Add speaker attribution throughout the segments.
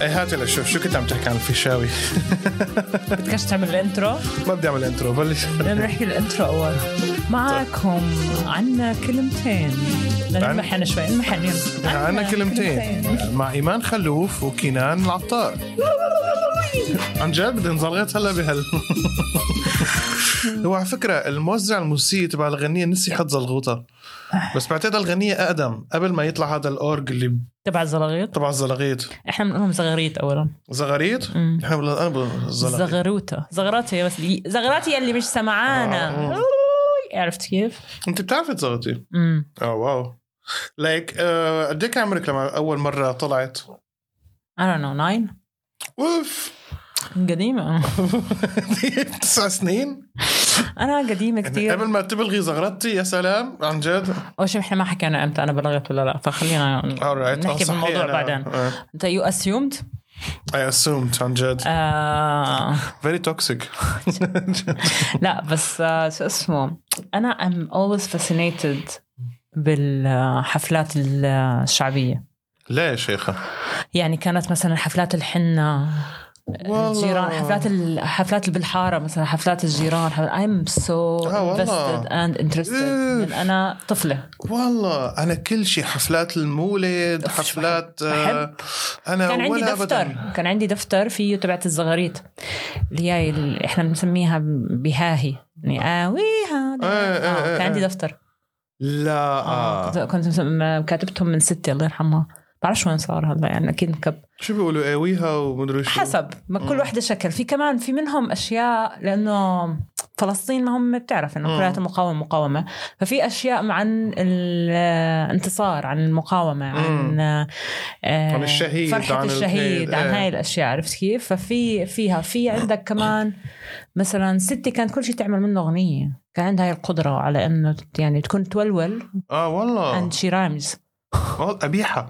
Speaker 1: ايه هات لشوف شو كنت عم تحكي عن الفيشاوي
Speaker 2: بدكش تعمل الانترو
Speaker 1: ما بدي اعمل انترو بلش
Speaker 2: بدنا نحكي الانترو اول معكم عنا كلمتين بدنا
Speaker 1: عن-
Speaker 2: نمحن شوي نمحن يلا
Speaker 1: عنا كلمتين مع ايمان خلوف وكنان العطار عن جد بدي انزرغت هلا بهال هو على فكره الموزع الموسيقي تبع الغنيه نسي يحط زلغوطه بس بعتقد الغنيه اقدم قبل ما يطلع هذا الاورج اللي
Speaker 2: تبع الزلغيط
Speaker 1: تبع الزلغيط
Speaker 2: احنا بنقولهم زغاريت اولا
Speaker 1: زغاريت؟
Speaker 2: أمم.
Speaker 1: نحن بال- انا بقول زلغيط
Speaker 2: زغروتا زغراتي بس اللي- زغراتي اللي مش سمعانا
Speaker 1: آه.
Speaker 2: أوي. عرفت كيف؟
Speaker 1: انت بتعرفي تزغرتي
Speaker 2: امم
Speaker 1: اه واو لايك قد ايه كان عمرك لما اول مره طلعت؟
Speaker 2: I don't know ناين
Speaker 1: اوف
Speaker 2: قديمة
Speaker 1: تسع سنين
Speaker 2: أنا قديمة
Speaker 1: يعني
Speaker 2: كثير
Speaker 1: قبل ما تبلغي زغرتي يا سلام عن جد
Speaker 2: أول شيء إحنا ما حكينا إمتى أنا بلغت ولا لا فخلينا
Speaker 1: alright
Speaker 2: نحكي بالموضوع بعدين أنت يو أسيومد
Speaker 1: اي اسومد عن
Speaker 2: أه.
Speaker 1: جد
Speaker 2: آه
Speaker 1: فيري توكسيك
Speaker 2: لا بس آه، شو اسمه انا ام اولويز فاسينيتد بالحفلات الشعبيه
Speaker 1: ليه يا شيخه؟
Speaker 2: يعني كانت مثلا حفلات الحنه
Speaker 1: والله.
Speaker 2: الجيران حفلات ال- حفلات بالحاره مثلا حفلات الجيران ايم سو
Speaker 1: آه، والله.
Speaker 2: انفستد اند انترستد من
Speaker 1: إيه.
Speaker 2: انا طفله
Speaker 1: والله انا كل شيء حفلات المولد
Speaker 2: أوف، شو
Speaker 1: حفلات
Speaker 2: بحب.
Speaker 1: آه، انا
Speaker 2: كان عندي
Speaker 1: ولا
Speaker 2: دفتر
Speaker 1: ابدا
Speaker 2: كان عندي دفتر فيه تبعت الزغاريت اللي هي ال- احنا بنسميها بهاهي يعني اويها
Speaker 1: إيه، إيه،
Speaker 2: آه،
Speaker 1: إيه،
Speaker 2: كان عندي
Speaker 1: إيه.
Speaker 2: دفتر
Speaker 1: لا
Speaker 2: آه.
Speaker 1: آه.
Speaker 2: كنت- كنت مسم- كاتبتهم من ستة الله يرحمها بعرفش وين صار هلا يعني اكيد مكب
Speaker 1: شو بيقولوا قاويها ومدري شو
Speaker 2: حسب ما كل وحده شكل في كمان في منهم اشياء لانه فلسطين ما هم بتعرف انه
Speaker 1: مم.
Speaker 2: كلها مقاومه مقاومه ففي اشياء عن الانتصار عن المقاومه عن
Speaker 1: مم.
Speaker 2: آه،
Speaker 1: عن الشهيد،
Speaker 2: فرحه
Speaker 1: عن
Speaker 2: الشهيد
Speaker 1: الكيد،
Speaker 2: عن
Speaker 1: إيه.
Speaker 2: هاي الاشياء عرفت كيف ففي فيها في عندك كمان مثلا ستي كانت كل شيء تعمل منه اغنيه كان عندها هاي القدره على انه يعني تكون تولول
Speaker 1: اه والله
Speaker 2: اند شي رايمز
Speaker 1: والله قبيحه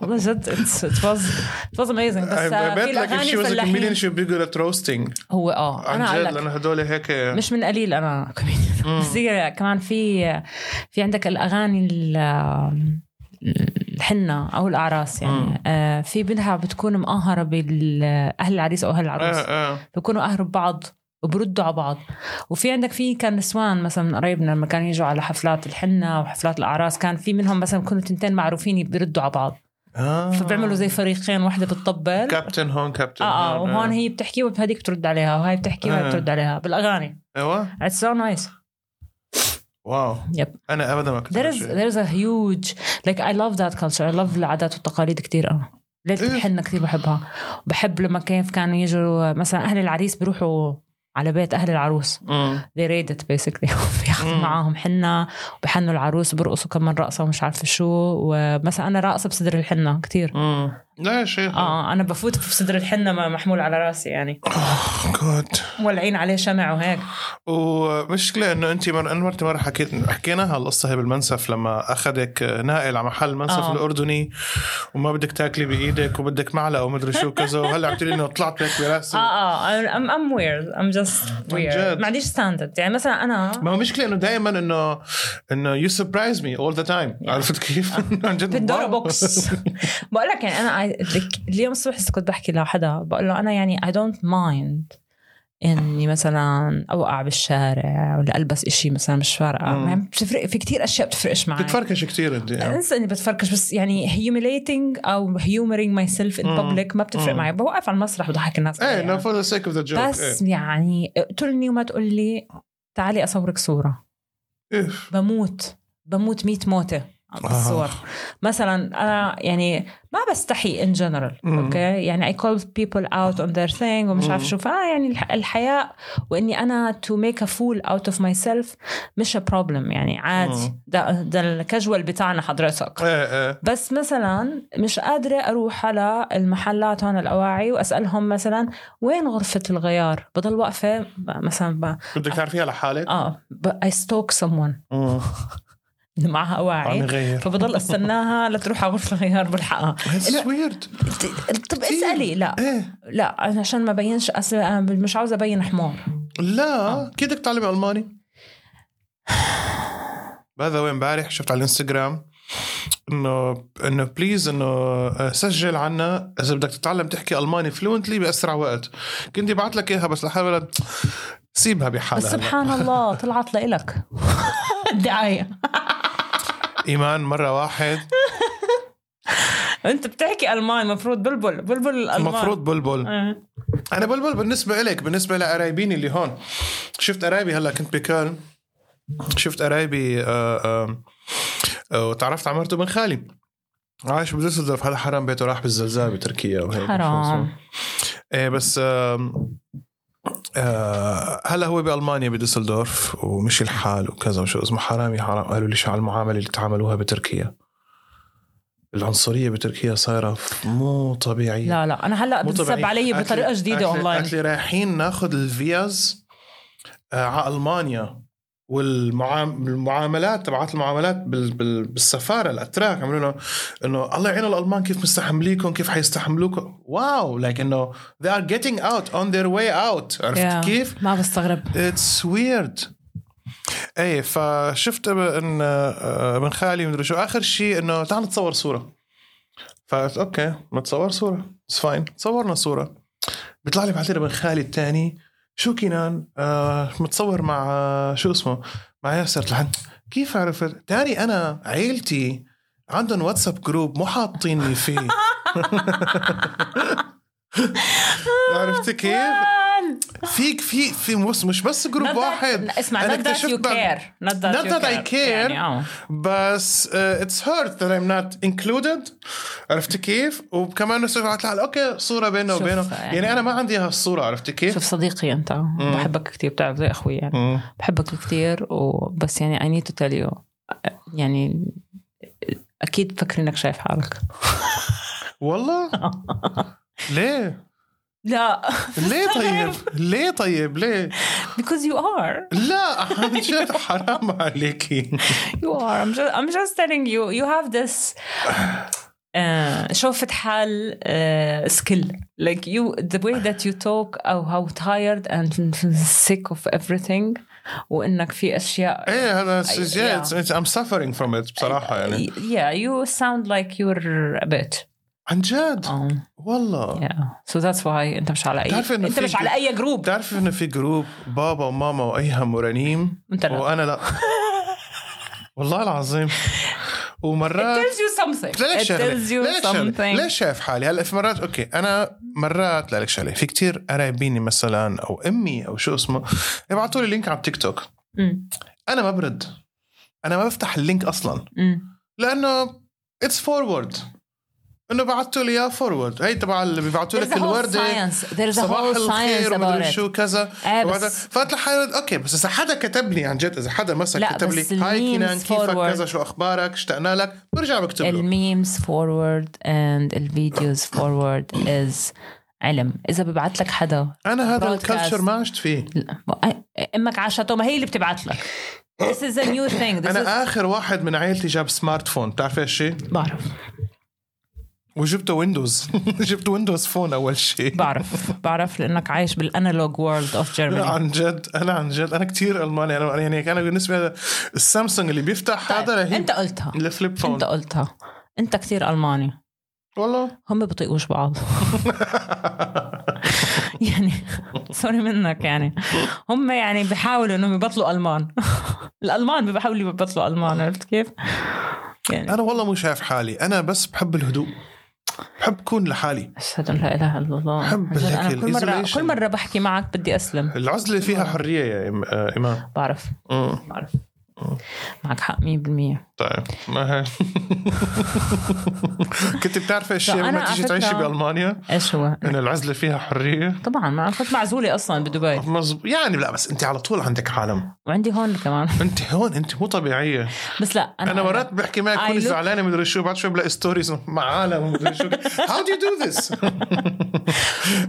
Speaker 2: والله جد ات واز ات واز اميزنج بس آه، في
Speaker 1: بيت لك
Speaker 2: الاغاني
Speaker 1: شي واز
Speaker 2: الفلاحين
Speaker 1: كوميديان شو بيقول روستنج
Speaker 2: هو اه
Speaker 1: عن
Speaker 2: انا
Speaker 1: جد
Speaker 2: اقول لك
Speaker 1: لانه هدول هيك
Speaker 2: مش من قليل انا كوميديان بس هي كمان في في عندك الاغاني ال- الحنة او الاعراس يعني
Speaker 1: مم.
Speaker 2: آه في منها بتكون مقهره بالاهل العريس او اهل العروس آه.
Speaker 1: اه اه
Speaker 2: بيكونوا قهروا ببعض وبردوا على بعض وفي عندك في كان نسوان مثلا من قريبنا لما كانوا يجوا على حفلات الحنه وحفلات الاعراس كان في منهم مثلا كانوا تنتين معروفين بيردوا على بعض
Speaker 1: آه.
Speaker 2: فبيعملوا زي فريقين واحده بتطبل
Speaker 1: كابتن هون كابتن
Speaker 2: اه اه
Speaker 1: هون،
Speaker 2: وهون هي بتحكي وهذيك بترد عليها وهي بتحكي وهي
Speaker 1: آه.
Speaker 2: بترد عليها بالاغاني
Speaker 1: ايوه
Speaker 2: It's so nice.
Speaker 1: واو
Speaker 2: Yep.
Speaker 1: انا ابدا ما كنت
Speaker 2: There
Speaker 1: أعرف
Speaker 2: is
Speaker 1: شيء.
Speaker 2: there is a huge like I love that culture. I love العادات والتقاليد كثير انا. ليلة
Speaker 1: إيه.
Speaker 2: الحنة كثير بحبها. بحب لما كيف كانوا يجوا مثلا اهل العريس بيروحوا على بيت اهل العروس
Speaker 1: مم.
Speaker 2: they raid it basically بياخذوا
Speaker 1: مم.
Speaker 2: معاهم حنه وبحنوا العروس بيرقصوا كمان رقصه ومش عارفه شو ومثلا انا راقصه بصدر الحنه كثير
Speaker 1: مم. mm. لا يا شيخ
Speaker 2: اه انا بفوت في صدر الحنه ما- محمول على راسي يعني
Speaker 1: جود
Speaker 2: مولعين عليه شمع وهيك
Speaker 1: ومشكلة انه انت مر... انا مرة مرة حكيت حكيناها القصة هي بالمنسف لما اخذك نائل على محل منسف
Speaker 2: آه.
Speaker 1: آه. الاردني وما بدك تاكلي بايدك وبدك معلقة ومدري شو كذا وهلا قلت لي انه طلعت هيك براسي
Speaker 2: اه اه I'm, I'm weird I'm just weird
Speaker 1: آه، جد.
Speaker 2: ما عنديش ستاندرد يعني مثلا انا
Speaker 1: ما هو مشكلة انه دائما انه انه يو سربرايز مي اول ذا تايم عرفت كيف؟ عن جد
Speaker 2: بندورة
Speaker 1: واو.
Speaker 2: آه. بوكس بقول لك يعني انا I- like اليوم الصبح لسه كنت بحكي لحدا بقول له انا يعني I don't mind اني مثلا اوقع بالشارع ولا البس اشي مثلا مش فارقه
Speaker 1: مم.
Speaker 2: يعني بتفرق في كتير اشياء بتفرقش معي
Speaker 1: بتتفركش كثير انت يعني.
Speaker 2: انسى اني بتفركش بس يعني humiliating او humoring myself in
Speaker 1: مم.
Speaker 2: public ما بتفرق
Speaker 1: مم.
Speaker 2: معي بوقف على المسرح بضحك الناس
Speaker 1: ايه
Speaker 2: عليها.
Speaker 1: نو فور ذا سيك اوف ذا جوك
Speaker 2: بس يعني اقتلني وما تقول لي تعالي اصورك صوره
Speaker 1: إيه.
Speaker 2: بموت بموت ميت موته
Speaker 1: آه.
Speaker 2: بالصور مثلا انا يعني ما بستحي ان جنرال
Speaker 1: مم.
Speaker 2: اوكي يعني اي كول بيبل اوت اون ذير ثينج ومش
Speaker 1: مم.
Speaker 2: عارف شو فانا يعني الح- الحياء واني انا تو ميك ا فول اوت اوف ماي سيلف مش بروبلم يعني عادي
Speaker 1: مم.
Speaker 2: ده ده الكاجوال بتاعنا حضرتك
Speaker 1: ايه ايه
Speaker 2: بس مثلا مش قادرة أروح على المحلات هون الأواعي وأسألهم مثلا وين غرفة الغيار بضل واقفة ب- مثلا ب...
Speaker 1: بدك تعرفيها لحالك؟
Speaker 2: آه ب... I stalk someone
Speaker 1: مم.
Speaker 2: اللي معها
Speaker 1: عم
Speaker 2: أواعي
Speaker 1: يغير
Speaker 2: فبضل استناها لتروح على غرفه الغيار بلحقها
Speaker 1: اتس ويرد
Speaker 2: طب اسالي لا
Speaker 1: ايه
Speaker 2: لا أنا عشان ما بينش أس... أنا مش عاوزه ابين حمار
Speaker 1: آه. لا كيف بدك تعلمي الماني؟ بهذا وين امبارح شفت على الانستغرام انه انه بليز انه آه، سجل عنا اذا بدك تتعلم تحكي الماني فلوينتلي باسرع وقت كنت بعت لك اياها بس لحالها سيبها
Speaker 2: بس
Speaker 1: بحالها هلا.
Speaker 2: سبحان الله طلعت لإلك الدعاية
Speaker 1: ايمان مره واحد
Speaker 2: انت بتحكي المان مفروض بلبل بلبل الالمان
Speaker 1: المفروض بلبل
Speaker 2: آه.
Speaker 1: انا بلبل بالنسبه لك بالنسبه لقرايبيني اللي هون شفت قرايبي هلا كنت بكال شفت قرايبي آه، آه، آه، وتعرفت على مرته بن خالي عايش بدوسلدورف هلا حرام بيته راح بالزلزال بتركيا وهيك
Speaker 2: حرام
Speaker 1: ايه بس آم، آه هلا هو بالمانيا بدوسلدورف ومشي الحال وكذا وشو اسمه حرامي حرام قالوا لي شو على المعامله اللي تعاملوها بتركيا العنصريه بتركيا صايره مو طبيعيه
Speaker 2: لا لا انا هلا
Speaker 1: مو
Speaker 2: بتسب
Speaker 1: طبيعي.
Speaker 2: علي
Speaker 1: قالت لي-
Speaker 2: بطريقه جديده
Speaker 1: قالت لي-
Speaker 2: اونلاين
Speaker 1: قالت لي رايحين ناخذ الفيز آه، على المانيا والمعاملات تبعات المعاملات بال- بال- بالسفاره الاتراك عملوا لنا انه الله يعين الالمان كيف مستحمليكم كيف حيستحملوكم واو لايك انه they are getting out on their way out عرفت
Speaker 2: Yeah.
Speaker 1: كيف؟
Speaker 2: ما بستغرب
Speaker 1: اتس ويرد ايه فشفت ب- ان آه، ابن خالي مدري شو اخر شيء انه تعال نتصور صوره فقلت اوكي نتصور صوره اتس فاين صورنا صوره بيطلع لي بعدين ابن خالي الثاني شو كنان آه متصور مع آه شو اسمه مع ياسر لحن كيف عرفت تاري انا عيلتي عندهم واتساب جروب مو حاطيني فيه عرفت كيف؟ فيك في في مش, مش بس جروب واحد
Speaker 2: اسمع
Speaker 1: أنا
Speaker 2: not that you
Speaker 1: اكتشفت بعد-
Speaker 2: care not that,
Speaker 1: Not
Speaker 2: you
Speaker 1: that I care.
Speaker 2: يعني اه
Speaker 1: بس آه، اتس هيرت ذات ام نوت انكلودد عرفت كيف؟ وكمان نفس الوقت طلع اوكي صوره بيننا
Speaker 2: شوف،
Speaker 1: وبينه
Speaker 2: يعني-
Speaker 1: يعني انا ما عندي هالصوره عرفت كيف؟
Speaker 2: شوف صديقي انت بحبك كثير بتعرف زي اخوي يعني
Speaker 1: مم.
Speaker 2: بحبك كثير وبس يعني I need to tell you يعني اكيد فكر انك شايف حالك
Speaker 1: والله ليه؟
Speaker 2: لا
Speaker 1: ليه طيب؟ ليه طيب؟ ليه؟
Speaker 2: because you are
Speaker 1: لا عن جد حرام عليكي
Speaker 2: you are I'm just, I'm just telling you you have this آه، شوفة حال سكيل like you the way that you talk أو how tired and sick of everything وإنك في أشياء
Speaker 1: ايه هذا س-
Speaker 2: أي-
Speaker 1: yeah, it's- it's- I'm suffering from it بصراحه يعني
Speaker 2: yeah you sound like you're a bitch
Speaker 1: عن جد
Speaker 2: oh,
Speaker 1: والله
Speaker 2: yeah so that's why أنت مش على أي
Speaker 1: بتعرفي إنه
Speaker 2: أنت
Speaker 1: في
Speaker 2: مش على أي جروب
Speaker 1: بتعرف انه في جروب بابا وماما وايهم ورنيم
Speaker 2: أنت لا.
Speaker 1: وانا لا والله العظيم
Speaker 2: It
Speaker 1: ومرات
Speaker 2: tells you something
Speaker 1: لك
Speaker 2: it
Speaker 1: شغله
Speaker 2: tells you
Speaker 1: لك شغله
Speaker 2: something
Speaker 1: ليش شايف حالي هلا في مرات اوكي انا مرات لك شغله في كتير قرايبيني مثلا او امي او شو اسمه يبعثوا لي لينك على التيك توك
Speaker 2: أمم،
Speaker 1: انا ما برد انا ما بفتح اللينك اصلا
Speaker 2: أمم.
Speaker 1: لانه اتس فورورد انه بعثوا لي اياه فورورد هي تبع اللي بيبعثوا
Speaker 2: There's
Speaker 1: لك
Speaker 2: a whole
Speaker 1: الورده
Speaker 2: science there's a
Speaker 1: صباح
Speaker 2: whole science
Speaker 1: الخير
Speaker 2: about
Speaker 1: ومدري
Speaker 2: it
Speaker 1: شو كذا
Speaker 2: آه،
Speaker 1: وبعدها-
Speaker 2: بس-
Speaker 1: فقلت لحالي اوكي بس اذا حدا كتب لي عن جد اذا حدا مثلا
Speaker 2: لا،
Speaker 1: كتب
Speaker 2: بس
Speaker 1: لي هاي
Speaker 2: ال
Speaker 1: كنان
Speaker 2: memes
Speaker 1: كيفك
Speaker 2: forward.
Speaker 1: كذا شو اخبارك اشتقنا لك برجع بكتب له
Speaker 2: الميمز فورورد اند الفيديوز فورورد از علم اذا ببعث لك حدا
Speaker 1: انا هذا
Speaker 2: broadcast.
Speaker 1: الكلتشر ما عشت فيه
Speaker 2: لا، امك عاشته ما هي اللي بتبعث لك This is a new thing This is...
Speaker 1: انا اخر واحد من عائلتي جاب سمارت فون بتعرف ايش شيء
Speaker 2: بعرف
Speaker 1: وجبته ويندوز جبت ويندوز فون اول شيء
Speaker 2: بعرف بعرف لانك عايش بالانالوج وورلد اوف
Speaker 1: لا،
Speaker 2: جيرماني
Speaker 1: عن جد انا عن جد انا كتير الماني انا يعني كان بالنسبه لي السامسونج اللي بيفتح
Speaker 2: طيب،
Speaker 1: هذا رهيب
Speaker 2: انت قلتها
Speaker 1: الفليب فون
Speaker 2: انت قلتها انت كثير الماني
Speaker 1: والله
Speaker 2: هم بطيقوش بعض يعني سوري منك يعني هم يعني بيحاولوا انهم يبطلوا المان الالمان بيحاولوا يبطلوا المان عرفت كيف؟ يعني
Speaker 1: انا والله مو شايف حالي انا بس بحب الهدوء بحب كون لحالي
Speaker 2: اشهد ان لا اله الا الله
Speaker 1: حب
Speaker 2: عن جد
Speaker 1: هيك
Speaker 2: انا كل مره
Speaker 1: الإيزوليشن.
Speaker 2: كل مره بحكي معك بدي اسلم
Speaker 1: العزله فيها حريه يا إم- آه، ايمان
Speaker 2: بعرف
Speaker 1: أمم،
Speaker 2: بعرف معك حق 100%
Speaker 1: طيب ما هي كنت بتعرف الشيء
Speaker 2: لا، أنا
Speaker 1: لما تيجي
Speaker 2: على
Speaker 1: تعيشي
Speaker 2: فكرة-
Speaker 1: بالمانيا
Speaker 2: ايش هو؟
Speaker 1: انه العزله فيها حريه
Speaker 2: طبعا ما كنت معزوله اصلا بدبي
Speaker 1: مزب... يعني لا بس انت على طول عندك عالم
Speaker 2: وعندي هون كمان
Speaker 1: انت هون انت مو طبيعيه
Speaker 2: بس لا انا
Speaker 1: انا مرات بحكي معك
Speaker 2: I
Speaker 1: كل
Speaker 2: look-
Speaker 1: زعلانه مدري شو بعد شوي بلاقي ستوريز مع عالم ومدري شو هاو دو يو دو ذس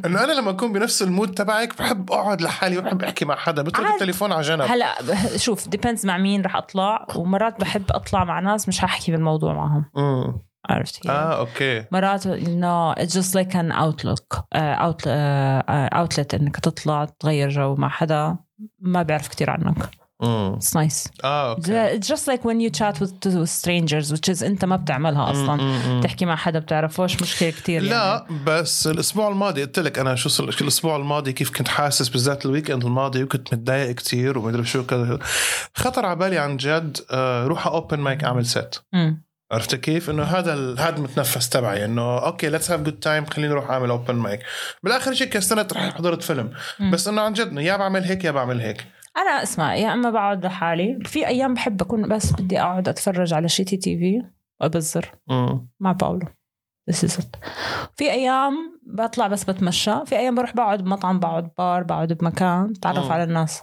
Speaker 1: انه انا لما اكون بنفس المود تبعك بحب اقعد لحالي وبحب احكي مع حدا بترك
Speaker 2: عاد.
Speaker 1: التليفون على جنب
Speaker 2: هلا ب- شوف ديبندز مع مين رح اطلع ومرات بحب اطلع مع ناس مش ححكي بالموضوع معهم
Speaker 1: أمم.
Speaker 2: عرفت كيف؟
Speaker 1: اه اوكي
Speaker 2: مرات انه اتس جاست لايك ان اوتلوك آه، اوتلت انك تطلع تغير جو مع حدا ما بيعرف كتير عنك
Speaker 1: امم
Speaker 2: It's nice.
Speaker 1: اه اوكي
Speaker 2: It's just like when you chat with, to strangers which is انت ما بتعملها اصلا
Speaker 1: مم، مم.
Speaker 2: تحكي مع حدا بتعرفوش مشكله كتير يعني.
Speaker 1: لا بس الاسبوع الماضي قلت لك انا شو صل- الاسبوع الماضي كيف كنت حاسس بالذات الويكند الماضي وكنت متضايق كتير ومدري شو كذا خطر على بالي عن جد آه، روح اوبن مايك اعمل سيت
Speaker 2: مم.
Speaker 1: عرفت كيف؟ انه هذا ال- هذا المتنفس تبعي انه اوكي ليتس هاف جود تايم خليني اروح اعمل اوبن مايك بالاخر شيء كسلت رحت حضرت فيلم
Speaker 2: مم.
Speaker 1: بس انه عن جد إنه يا بعمل هيك يا بعمل هيك
Speaker 2: انا اسمع يا اما بقعد لحالي في ايام بحب اكون بس بدي اقعد اتفرج على شي تي تي في وابزر
Speaker 1: امم
Speaker 2: مع باولو This is it. في ايام بطلع بس بتمشى في ايام بروح بقعد بمطعم بقعد بار بقعد بمكان بتعرف
Speaker 1: مم.
Speaker 2: على الناس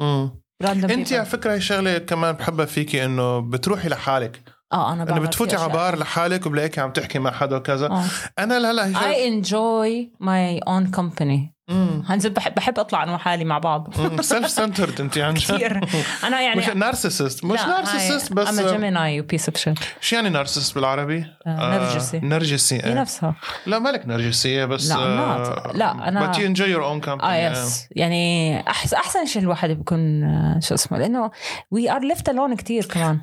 Speaker 1: امم
Speaker 2: راندوم
Speaker 1: انت على فكره هي شغله كمان بحبها فيكي انه بتروحي لحالك
Speaker 2: اه انا
Speaker 1: انه
Speaker 2: بعمل
Speaker 1: بتفوتي
Speaker 2: في
Speaker 1: على
Speaker 2: أشياء.
Speaker 1: بار لحالك وبلاقيك عم تحكي مع حدا وكذا
Speaker 2: آه.
Speaker 1: انا لهلا هي شغلة-
Speaker 2: I enjoy my own company
Speaker 1: امم
Speaker 2: هنزل بحب, بحب اطلع انا وحالي مع بعض
Speaker 1: سيلف سنترد انت عن جد
Speaker 2: كثير انا يعني
Speaker 1: مش نارسست مش
Speaker 2: لا،
Speaker 1: نارسست
Speaker 2: هاي-
Speaker 1: بس
Speaker 2: I'm a Gemini you piece of shit
Speaker 1: شو يعني نارسست بالعربي؟ آه،
Speaker 2: نرجسي.
Speaker 1: نرجسي
Speaker 2: هي
Speaker 1: آه.
Speaker 2: نفسها
Speaker 1: لا مالك نرجسيه بس آه،
Speaker 2: لا، I'm not. لا، أنا-
Speaker 1: بت انجوي يور اون كامباني
Speaker 2: اه يس يعني احسن احسن شيء الواحد بيكون آه، شو اسمه لانه وي ار ليفت الون كثير كمان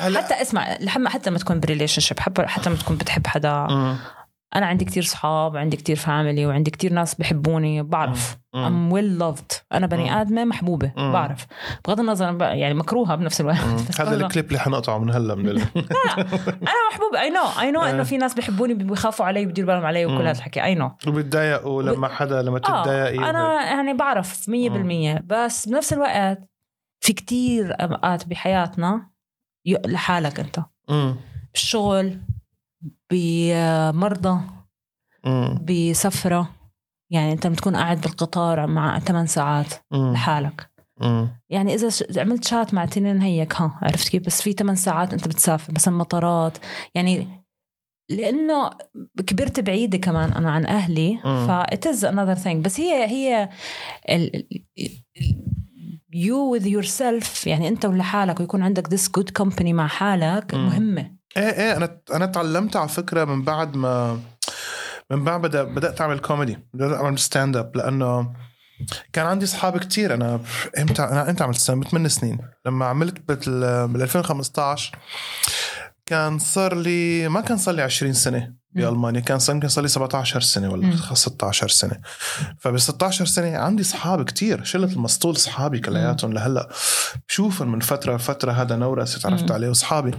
Speaker 2: حتى اسمع لحم حتى ما تكون بريليشن شيب حتى ما تكون بتحب حدا انا عندي كتير صحاب عندي كتير فاميلي وعندي كتير ناس بحبوني بعرف ام ويل لافد انا
Speaker 1: مم.
Speaker 2: بني ادمه محبوبه
Speaker 1: مم.
Speaker 2: بعرف بغض النظر أنا بقى- يعني مكروهه بنفس الوقت بس
Speaker 1: هذا
Speaker 2: برضه
Speaker 1: الكليب اللي حنقطعه من هلا من ال...
Speaker 2: انا محبوبه اي نو اي نو
Speaker 1: آه.
Speaker 2: انه في ناس بيحبوني بيخافوا علي وبيديروا بالهم علي
Speaker 1: مم.
Speaker 2: وكل هذا الحكي اي نو
Speaker 1: وبتضايقوا لما حدا لما تتضايقي
Speaker 2: آه انا
Speaker 1: إيه.
Speaker 2: يعني بعرف 100% بس بنفس الوقت في كتير اوقات بحياتنا ي- لحالك انت
Speaker 1: أمم،
Speaker 2: بالشغل بمرضى
Speaker 1: أمم،
Speaker 2: بسفره يعني انت بتكون قاعد بالقطار مع 8 ساعات
Speaker 1: أمم،
Speaker 2: لحالك
Speaker 1: أمم،
Speaker 2: يعني اذا ش- عملت شات مع تنين هيك ها عرفت كيف بس في 8 ساعات انت بتسافر مثلا مطارات يعني لانه كبرت بعيده كمان انا عن اهلي
Speaker 1: مم.
Speaker 2: فات از انذر ثينج بس هي هي يو وذ يور سيلف يعني انت ولحالك ويكون عندك ذس جود كومباني مع حالك
Speaker 1: مم.
Speaker 2: مهمه
Speaker 1: ايه ايه انا انا تعلمت على فكره من بعد ما من بعد بدأ بدات اعمل كوميدي بدات اعمل ستاند اب لانه كان عندي اصحاب كتير انا امتى انا امتى عملت ستاند اب 8 سنين لما عملت بال بال 2015 كان صار لي ما كان صار لي 20 سنه بالمانيا كان صار يمكن صار لي 17 سنه ولا
Speaker 2: مم.
Speaker 1: 16 سنه فب 16 سنه عندي اصحاب كتير شله المسطول اصحابي كلياتهم لهلا بشوفهم من فتره لفتره هذا نورس تعرفت
Speaker 2: مم.
Speaker 1: عليه واصحابي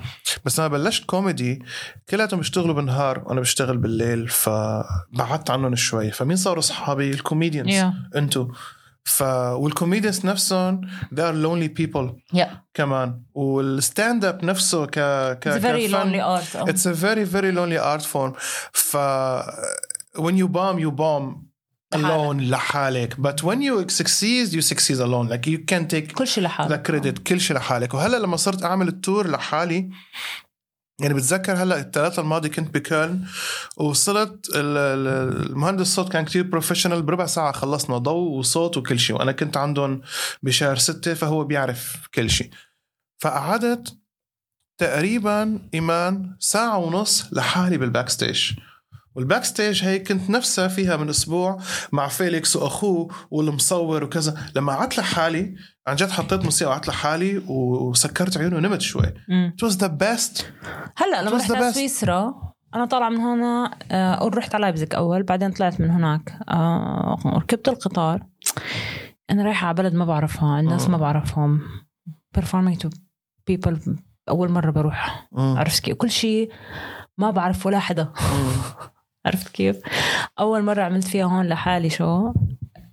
Speaker 1: بس لما بلشت كوميدي كلياتهم بيشتغلوا بالنهار وانا بشتغل بالليل فبعدت عنهم شوي فمين صاروا اصحابي الكوميديانز yeah. انتو ف والكوميديانز نفسهم they are lonely people
Speaker 2: يا
Speaker 1: كمان والستاند اب نفسه ك ك
Speaker 2: اتس فيري
Speaker 1: كفن-
Speaker 2: لونلي ارت
Speaker 1: It's a very very lonely art form ف when you bomb you bomb alone لحالك but when you succeed you succeed alone like you can take
Speaker 2: كل شيء لحالك
Speaker 1: لكريدت كل شيء لحالك وهلا لما صرت اعمل التور لحالي يعني بتذكر هلا الثلاثة الماضي كنت بكولن وصلت ال- ال- المهندس صوت كان كتير بروفيشنال بربع ساعة خلصنا ضوء وصوت وكل شيء وأنا كنت عندهم بشهر ستة فهو بيعرف كل شيء فقعدت تقريبا إيمان ساعة ونص لحالي بالباك ستيج والباك ستيج هي كنت نفسها فيها من أسبوع مع فيليكس وأخوه والمصور وكذا لما قعدت لحالي عن جد حطيت موسيقى وقعدت لحالي و- وسكرت عيوني ونمت شوي
Speaker 2: مم.
Speaker 1: it was the best
Speaker 2: هلا لما
Speaker 1: It was
Speaker 2: رحت
Speaker 1: the
Speaker 2: على
Speaker 1: best.
Speaker 2: سويسرا انا طالعه من هنا آه، رحت على لايبزيغ اول بعدين طلعت من هناك آه، ركبت القطار انا رايحه على بلد ما بعرفها عند ناس ما بعرفهم performing to people اول مره بروح عرفت كيف كل شيء ما بعرف ولا حدا عرفت كيف اول مره عملت فيها هون لحالي شو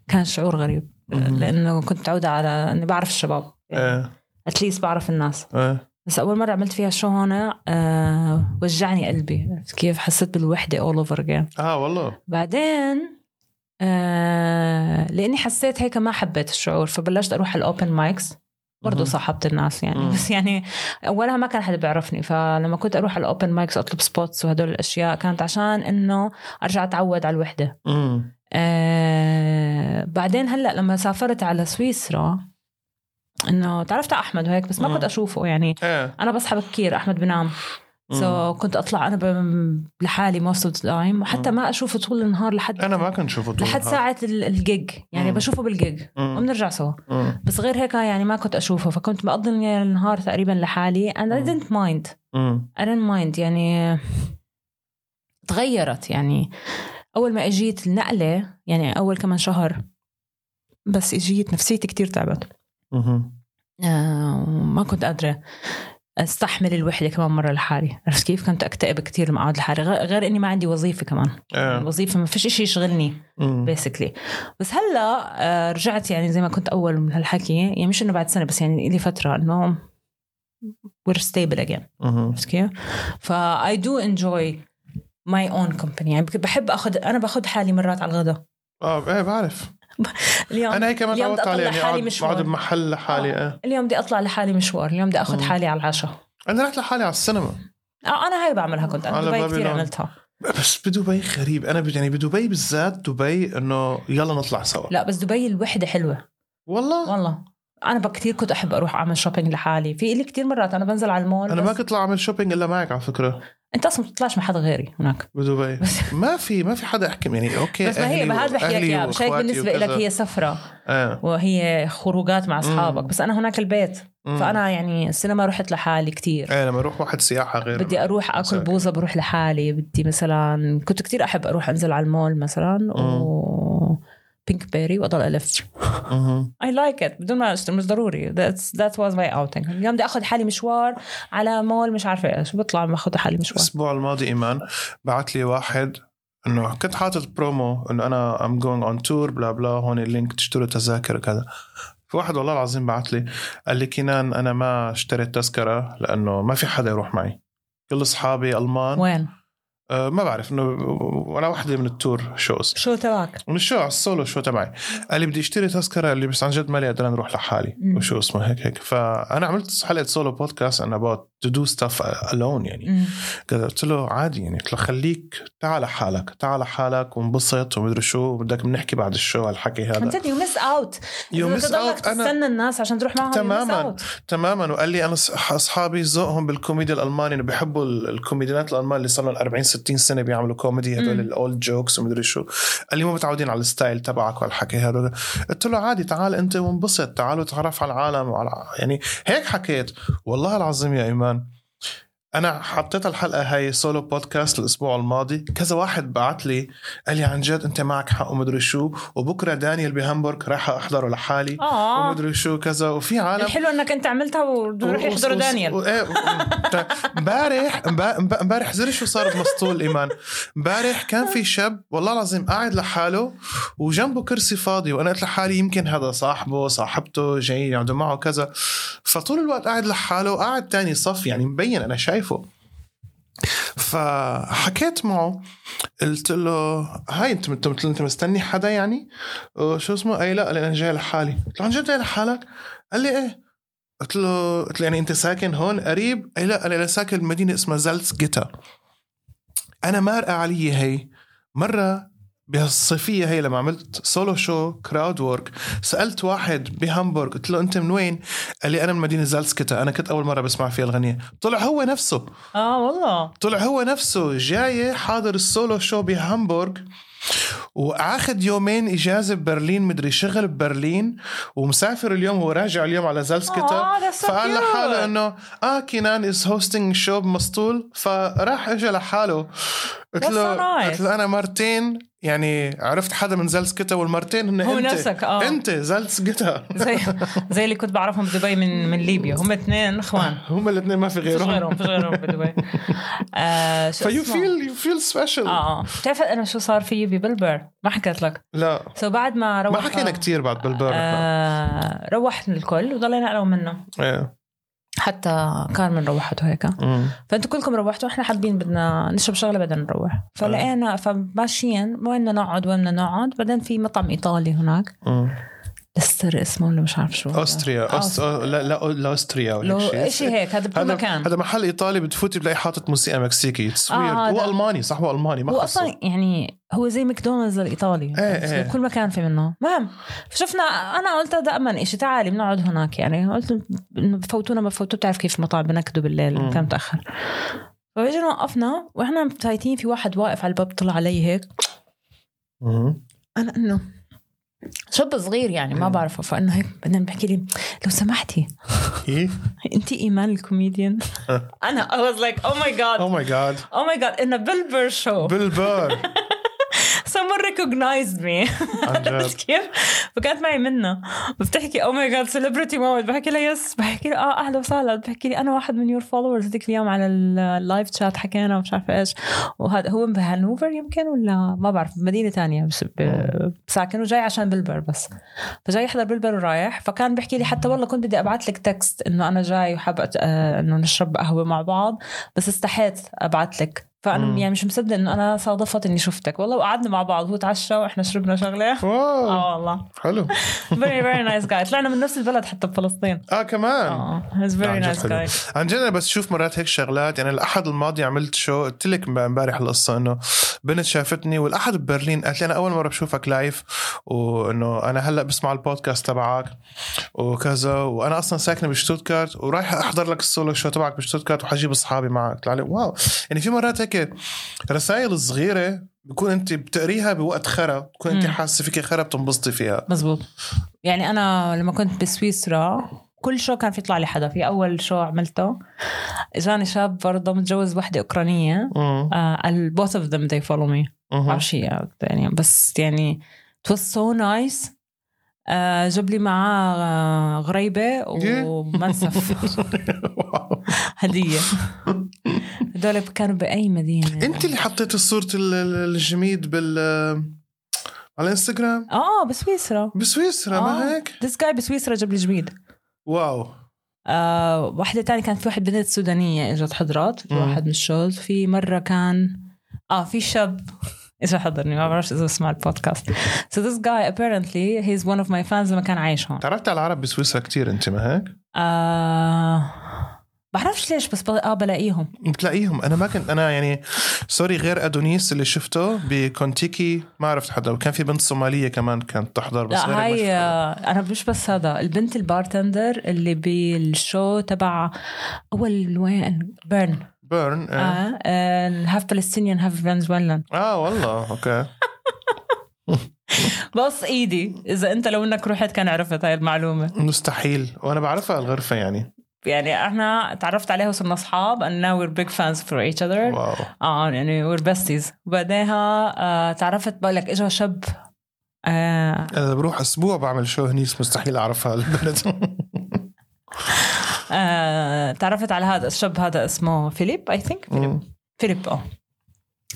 Speaker 2: كان شعور غريب
Speaker 1: مم.
Speaker 2: لانه كنت متعوده على اني بعرف الشباب
Speaker 1: إيه،
Speaker 2: اتليست بعرف الناس
Speaker 1: إيه.
Speaker 2: بس اول مره عملت فيها شو هون آه وجعني قلبي عرفت كيف حسيت بالوحده اول اوفر اجين
Speaker 1: اه والله
Speaker 2: بعدين آه لاني حسيت هيك ما حبيت الشعور فبلشت اروح على الاوبن مايكس برضه
Speaker 1: مهم.
Speaker 2: صاحبت الناس يعني
Speaker 1: مم.
Speaker 2: بس يعني اولها ما كان حدا بيعرفني فلما كنت اروح على الاوبن مايكس اطلب سبوتس وهدول الاشياء كانت عشان انه ارجع اتعود على الوحده
Speaker 1: أمم.
Speaker 2: آه بعدين هلا لما سافرت على سويسرا انه تعرفت على احمد وهيك بس ما
Speaker 1: مم.
Speaker 2: كنت اشوفه يعني
Speaker 1: ايه
Speaker 2: انا بصحى بكير احمد بنام سو so كنت اطلع انا ب- لحالي موست اوف تايم وحتى
Speaker 1: مم.
Speaker 2: ما اشوفه طول النهار لحد
Speaker 1: انا ما كنت شوفه طول
Speaker 2: لحد
Speaker 1: النهار.
Speaker 2: ساعه ال- الجيج يعني
Speaker 1: مم.
Speaker 2: بشوفه بالجيج
Speaker 1: مم.
Speaker 2: وبنرجع سوا
Speaker 1: مم.
Speaker 2: بس غير هيك يعني ما كنت اشوفه فكنت بقضي النهار تقريبا لحالي and I
Speaker 1: مم.
Speaker 2: didn't mind
Speaker 1: مم.
Speaker 2: I didn't mind يعني تغيرت يعني أول ما إجيت النقلة يعني أول كمان شهر بس إجيت نفسيتي كتير تعبت
Speaker 1: مم.
Speaker 2: آه، وما كنت قادرة استحمل الوحدة كمان مرة لحالي عرفت كيف كنت أكتئب كتير لما أقعد لحالي غ- غير إني ما عندي وظيفة كمان
Speaker 1: آه.
Speaker 2: الوظيفة ما فيش إشي يشغلني
Speaker 1: مم.
Speaker 2: بيسكلي بس هلا آه، رجعت يعني زي ما كنت اول من هالحكي يعني مش انه بعد سنه بس يعني لي فتره انه we're stable again
Speaker 1: مم.
Speaker 2: عرفت كيف؟ فا I do enjoy my own company يعني بك- بحب اخذ انا باخذ حالي مرات على الغداء
Speaker 1: اه ايه بعرف
Speaker 2: اليوم
Speaker 1: انا هيك ما
Speaker 2: اليوم بدي
Speaker 1: تعودت عليه
Speaker 2: أطلع
Speaker 1: يعني
Speaker 2: حالي
Speaker 1: اقعد
Speaker 2: مشوار.
Speaker 1: اقعد بمحل لحالي آه.
Speaker 2: اليوم بدي اطلع لحالي مشوار اليوم بدي اخذ
Speaker 1: مم.
Speaker 2: حالي على العشاء
Speaker 1: انا رحت لحالي على السينما
Speaker 2: آه، انا هاي بعملها كنت انا
Speaker 1: على
Speaker 2: دبي كثير
Speaker 1: بابلون.
Speaker 2: عملتها
Speaker 1: بس بدبي غريب انا ب- يعني بدبي بالذات دبي انه يلا نطلع سوا
Speaker 2: لا بس دبي الوحده حلوه
Speaker 1: والله
Speaker 2: والله انا بقى كثير كنت احب اروح اعمل شوبينج لحالي في لي كثير مرات انا بنزل على المول
Speaker 1: انا
Speaker 2: بس
Speaker 1: ما كنت طلع اعمل شوبينج الا معك على فكره
Speaker 2: انت اصلا ما بتطلعش مع حدا غيري هناك
Speaker 1: بدبي
Speaker 2: بس-
Speaker 1: ما في ما في حدا احكم يعني اوكي
Speaker 2: بس ما هي
Speaker 1: أهلي
Speaker 2: ما هذا بحكي لك
Speaker 1: وأهلي
Speaker 2: اياها مش هيك
Speaker 1: وإخواتي
Speaker 2: بالنسبه
Speaker 1: وكذا.
Speaker 2: لك هي سفره
Speaker 1: آه.
Speaker 2: وهي خروجات مع اصحابك
Speaker 1: مم.
Speaker 2: بس انا هناك البيت
Speaker 1: مم.
Speaker 2: فانا يعني السينما رحت لحالي كتير
Speaker 1: ايه لما اروح واحد سياحه غير
Speaker 2: بدي اروح اكل
Speaker 1: مساك.
Speaker 2: بوزه بروح لحالي بدي مثلا كنت كتير احب اروح انزل على المول مثلا و بينك بيري واضل الف
Speaker 1: مهم.
Speaker 2: اي لايك ات بدون ما اشتري مش ضروري ذاتس ذات واز ماي اوتنج اليوم بدي اخذ حالي مشوار على مول مش عارفه ايش بطلع باخذ حالي مشوار
Speaker 1: الاسبوع الماضي ايمان بعت لي واحد انه كنت حاطط برومو انه انا ام جوينج اون تور بلا بلا هون اللينك تشتروا تذاكر وكذا في واحد والله العظيم بعت لي قال لي كنان انا ما اشتريت تذكره لانه ما في حدا يروح معي كل اصحابي المان
Speaker 2: وين
Speaker 1: أه ما بعرف انه وانا وحده من التور شوز
Speaker 2: شو تبعك
Speaker 1: من الشو على السولو شو تبعي قال لي بدي اشتري تذكره قال لي بس عن جد مالي قادر نروح لحالي
Speaker 2: مم.
Speaker 1: وشو اسمه هيك هيك فانا عملت حلقه سولو بودكاست انا about تو دو ستاف الون يعني
Speaker 2: مم.
Speaker 1: كذا قلت له عادي يعني قلت له خليك تعال حالك تعال حالك وانبسط ومدري شو بدك بنحكي بعد الشو هالحكي
Speaker 2: عن
Speaker 1: هذا
Speaker 2: جد يو مس اوت
Speaker 1: يو
Speaker 2: إذا
Speaker 1: miss
Speaker 2: تضلك
Speaker 1: out. أنا-
Speaker 2: تستنى الناس عشان تروح معهم
Speaker 1: تماماً.
Speaker 2: تماما
Speaker 1: تماما وقال لي انا أص- اصحابي ذوقهم بالكوميديا الالماني انه بيحبوا ال- الكوميديانات الالمان اللي صار لهم 40 60 سنه بيعملوا كوميدي هدول
Speaker 2: مم.
Speaker 1: الاولد جوكس ومدري شو قال لي مو متعودين على الستايل تبعك وهالحكي هذا قلت له عادي تعال انت وانبسط تعال وتعرف على العالم وعلى يعني هيك حكيت والله العظيم يا ايمان انا حطيت الحلقه هاي سولو بودكاست الاسبوع الماضي كذا واحد بعت لي قال لي عن جد انت معك حق ومدري شو وبكره دانيال بهامبورغ راح احضره لحالي
Speaker 2: اه
Speaker 1: ومدري شو كذا وفي عالم
Speaker 2: الحلو انك انت عملتها وروح يحضروا دانيال
Speaker 1: إيه، امبارح امبارح زر شو صار بمسطول ايمان امبارح كان في شاب والله العظيم قاعد لحاله وجنبه كرسي فاضي وانا قلت لحالي يمكن هذا صاحبه صاحبته جاي يقعدوا معه كذا فطول الوقت قاعد لحاله قاعد تاني صف يعني مبين انا شايفه فحكيت معه قلت له هاي انت انت انت مستني حدا يعني أه، شو اسمه اي لا قال لي انا جاي لحالي قلت له عن جد جاي لحالك قال لي ايه قلت له قلت له يعني انت ساكن هون قريب اي لا قال لي انا ساكن بمدينه اسمها زالتس جيتا انا مارقه علي هي مره بهالصيفيه هي لما عملت سولو شو كراود وورك سالت واحد بهامبورغ قلت له انت من وين؟ قال لي انا من مدينه زالسكتا انا كنت اول مره بسمع فيها الغنيه طلع هو نفسه
Speaker 2: اه والله
Speaker 1: طلع هو نفسه جاي حاضر السولو شو بهامبورغ واخد يومين اجازه ببرلين مدري شغل ببرلين ومسافر اليوم وراجع اليوم على زالسكتا
Speaker 2: آه، that's so
Speaker 1: فقال
Speaker 2: cute.
Speaker 1: لحاله انه اه كنان از هوستنج شو بمسطول فراح اجى لحاله قلت
Speaker 2: That's
Speaker 1: له
Speaker 2: so nice.
Speaker 1: قلت له انا مرتين يعني عرفت حدا من زالسكتا والمرتين هن
Speaker 2: هو
Speaker 1: انت
Speaker 2: نفسك، آه.
Speaker 1: انت زالسكتا
Speaker 2: زي زي اللي كنت بعرفهم بدبي من من ليبيا هم اثنين اخوان
Speaker 1: هم الاثنين ما في
Speaker 2: فيش
Speaker 1: غيرهم
Speaker 2: غيرهم فيش غيرهم بدبي آه شو
Speaker 1: فيو
Speaker 2: اسمه؟
Speaker 1: فيل يو فيل سبيشل
Speaker 2: اه اه بتعرف انا شو صار فيي ببلبر ما حكيت لك
Speaker 1: لا
Speaker 2: سو بعد ما روح
Speaker 1: ما حكينا كتير بعد بالبارد
Speaker 2: آه روحت الكل وضلينا انا ومنه
Speaker 1: ايه
Speaker 2: حتى كارمن روحت وهيك
Speaker 1: أمم.
Speaker 2: فانتوا كلكم روحتوا احنا حابين بدنا نشرب شغله بدنا نروح فلقينا فماشيين وين بدنا نقعد وين بدنا نقعد بعدين في مطعم ايطالي هناك
Speaker 1: أمم.
Speaker 2: لستر اسمه ولا مش عارف شو هو.
Speaker 1: اوستريا أوست...
Speaker 2: أوست-
Speaker 1: أو- لا لا لا اوستريا ولا
Speaker 2: لو
Speaker 1: هيك
Speaker 2: شيء هيك هذا بكل
Speaker 1: هذا
Speaker 2: مكان
Speaker 1: هذا محل ايطالي بتفوتي بتلاقي حاطط موسيقى مكسيكي اتس
Speaker 2: آه،
Speaker 1: آه
Speaker 2: هذا.
Speaker 1: هو الماني صح هو الماني ما
Speaker 2: هو
Speaker 1: خصه.
Speaker 2: اصلا يعني هو زي ماكدونالدز الايطالي
Speaker 1: إيه، إيه.
Speaker 2: كل مكان في منه المهم شفنا انا قلت هذا امن شيء تعالي بنقعد هناك يعني قلت انه بفوتونا ما بفوتوا بتعرف كيف مطاعم بنكدوا بالليل
Speaker 1: مم.
Speaker 2: كان متاخر فاجينا وقفنا واحنا فايتين في واحد واقف على الباب طلع علي هيك
Speaker 1: مهم.
Speaker 2: انا انه شاب صغير يعني ما
Speaker 1: مم.
Speaker 2: بعرفه فانه هيك بعدين بحكي لي لو سمحتي
Speaker 1: ايه
Speaker 2: انت ايمان الكوميديان انا I was like oh my god
Speaker 1: او ماي جاد
Speaker 2: oh my god in a Billboard show
Speaker 1: بالبر
Speaker 2: someone recognized me
Speaker 1: عن جد
Speaker 2: عرفت كيف؟ فكانت معي منا بتحكي oh او ماي جاد سيلبرتي موت بحكي لها يس بحكي لها اه اهلا وسهلا بحكي لي انا واحد من يور فولورز ذيك اليوم على اللايف شات حكينا ومش عارفه ايش وهذا هو بهانوفر يمكن ولا ما بعرف مدينه تانية بس ب- ساكن وجاي عشان بلبر بس فجاي يحضر بلبر ورايح فكان بيحكي لي حتى والله كنت بدي ابعث لك تكست انه انا جاي وحابه أت- آه، انه نشرب قهوه مع بعض بس استحيت ابعث لك فانا
Speaker 1: مم.
Speaker 2: يعني مش مصدق انه انا صادفت اني شفتك والله وقعدنا مع بعض هو تعشى واحنا شربنا شغله
Speaker 1: واو
Speaker 2: اه والله
Speaker 1: حلو
Speaker 2: فيري فيري نايس جاي طلعنا من نفس البلد حتى بفلسطين
Speaker 1: اه كمان
Speaker 2: اه هيز فيري
Speaker 1: عن جد
Speaker 2: نايس
Speaker 1: حلو.
Speaker 2: جاي
Speaker 1: عن جد انا بس شوف مرات هيك شغلات يعني الاحد الماضي عملت شو قلت لك امب- امبارح القصه انه بنت شافتني والاحد ببرلين قالت لي انا اول مره بشوفك لايف وانه انا هلا بسمع البودكاست تبعك وكذا وانا اصلا ساكنه بشتوتغارت ورايح احضر لك السولو شو تبعك بشتوتغارت وحجيب اصحابي معك طلع لي واو يعني في مرات هيك رسائل صغيره بكون انت بتقريها بوقت خرا بكون انت
Speaker 2: مم.
Speaker 1: حاسه فيك خرا بتنبسطي فيها
Speaker 2: مزبوط يعني انا لما كنت بسويسرا كل شو كان في يطلع لي حدا في اول شو عملته اجاني شاب برضه متجوز وحده اوكرانيه
Speaker 1: مم.
Speaker 2: آه، قال both of them they follow me
Speaker 1: مم.
Speaker 2: بعرفش هي يعني بس يعني it was so nice آه، جاب لي معاه آه، غريبه
Speaker 1: Yeah.
Speaker 2: ومنسف
Speaker 1: واو.
Speaker 2: هديه هدول كانوا باي مدينه
Speaker 1: انت اللي حطيت صورة ال- ال- الجميد بال على انستغرام
Speaker 2: اه بسويسرا
Speaker 1: بسويسرا
Speaker 2: آه.
Speaker 1: ما هيك؟
Speaker 2: ذيس جاي بسويسرا جاب لي جميد
Speaker 1: واو
Speaker 2: آه واحدة تانية كانت في واحد بنت سودانية اجت حضرات في
Speaker 1: مم.
Speaker 2: واحد من الشوز في مرة كان اه في شاب اجى حضرني ما بعرفش اذا سمع البودكاست so this guy apparently he's one of my fans لما كان عايش هون
Speaker 1: تعرفت على العرب بسويسرا كتير انت ما هيك؟
Speaker 2: آه بعرفش ليش بس ب- اه بلاقيهم
Speaker 1: بتلاقيهم انا ما كنت انا يعني سوري غير ادونيس اللي شفته بكونتيكي ما عرفت حدا وكان في بنت صوماليه كمان كانت تحضر بس
Speaker 2: لا
Speaker 1: غير هيك ما
Speaker 2: هاي
Speaker 1: شفت حدا.
Speaker 2: آه، انا مش بس هذا البنت البارتندر اللي بالشو تبع اول وين بيرن
Speaker 1: بيرن اه,
Speaker 2: اه هاف فلسطينيان هاف فنزويلان
Speaker 1: آه والله اوكي
Speaker 2: بص ايدي اذا انت لو انك رحت كان عرفت هاي المعلومه
Speaker 1: مستحيل وانا بعرفها على الغرفه يعني
Speaker 2: يعني احنا تعرفت عليها وصرنا اصحاب and now we're big fans for each other
Speaker 1: واو
Speaker 2: اه يعني we're besties وبعدها آه تعرفت بقول لك اجى شاب آه
Speaker 1: انا بروح اسبوع بعمل شو هنيس مستحيل اعرفها البنت
Speaker 2: آه تعرفت على هذا الشاب هذا اسمه فيليب اي ثينك فيليب اه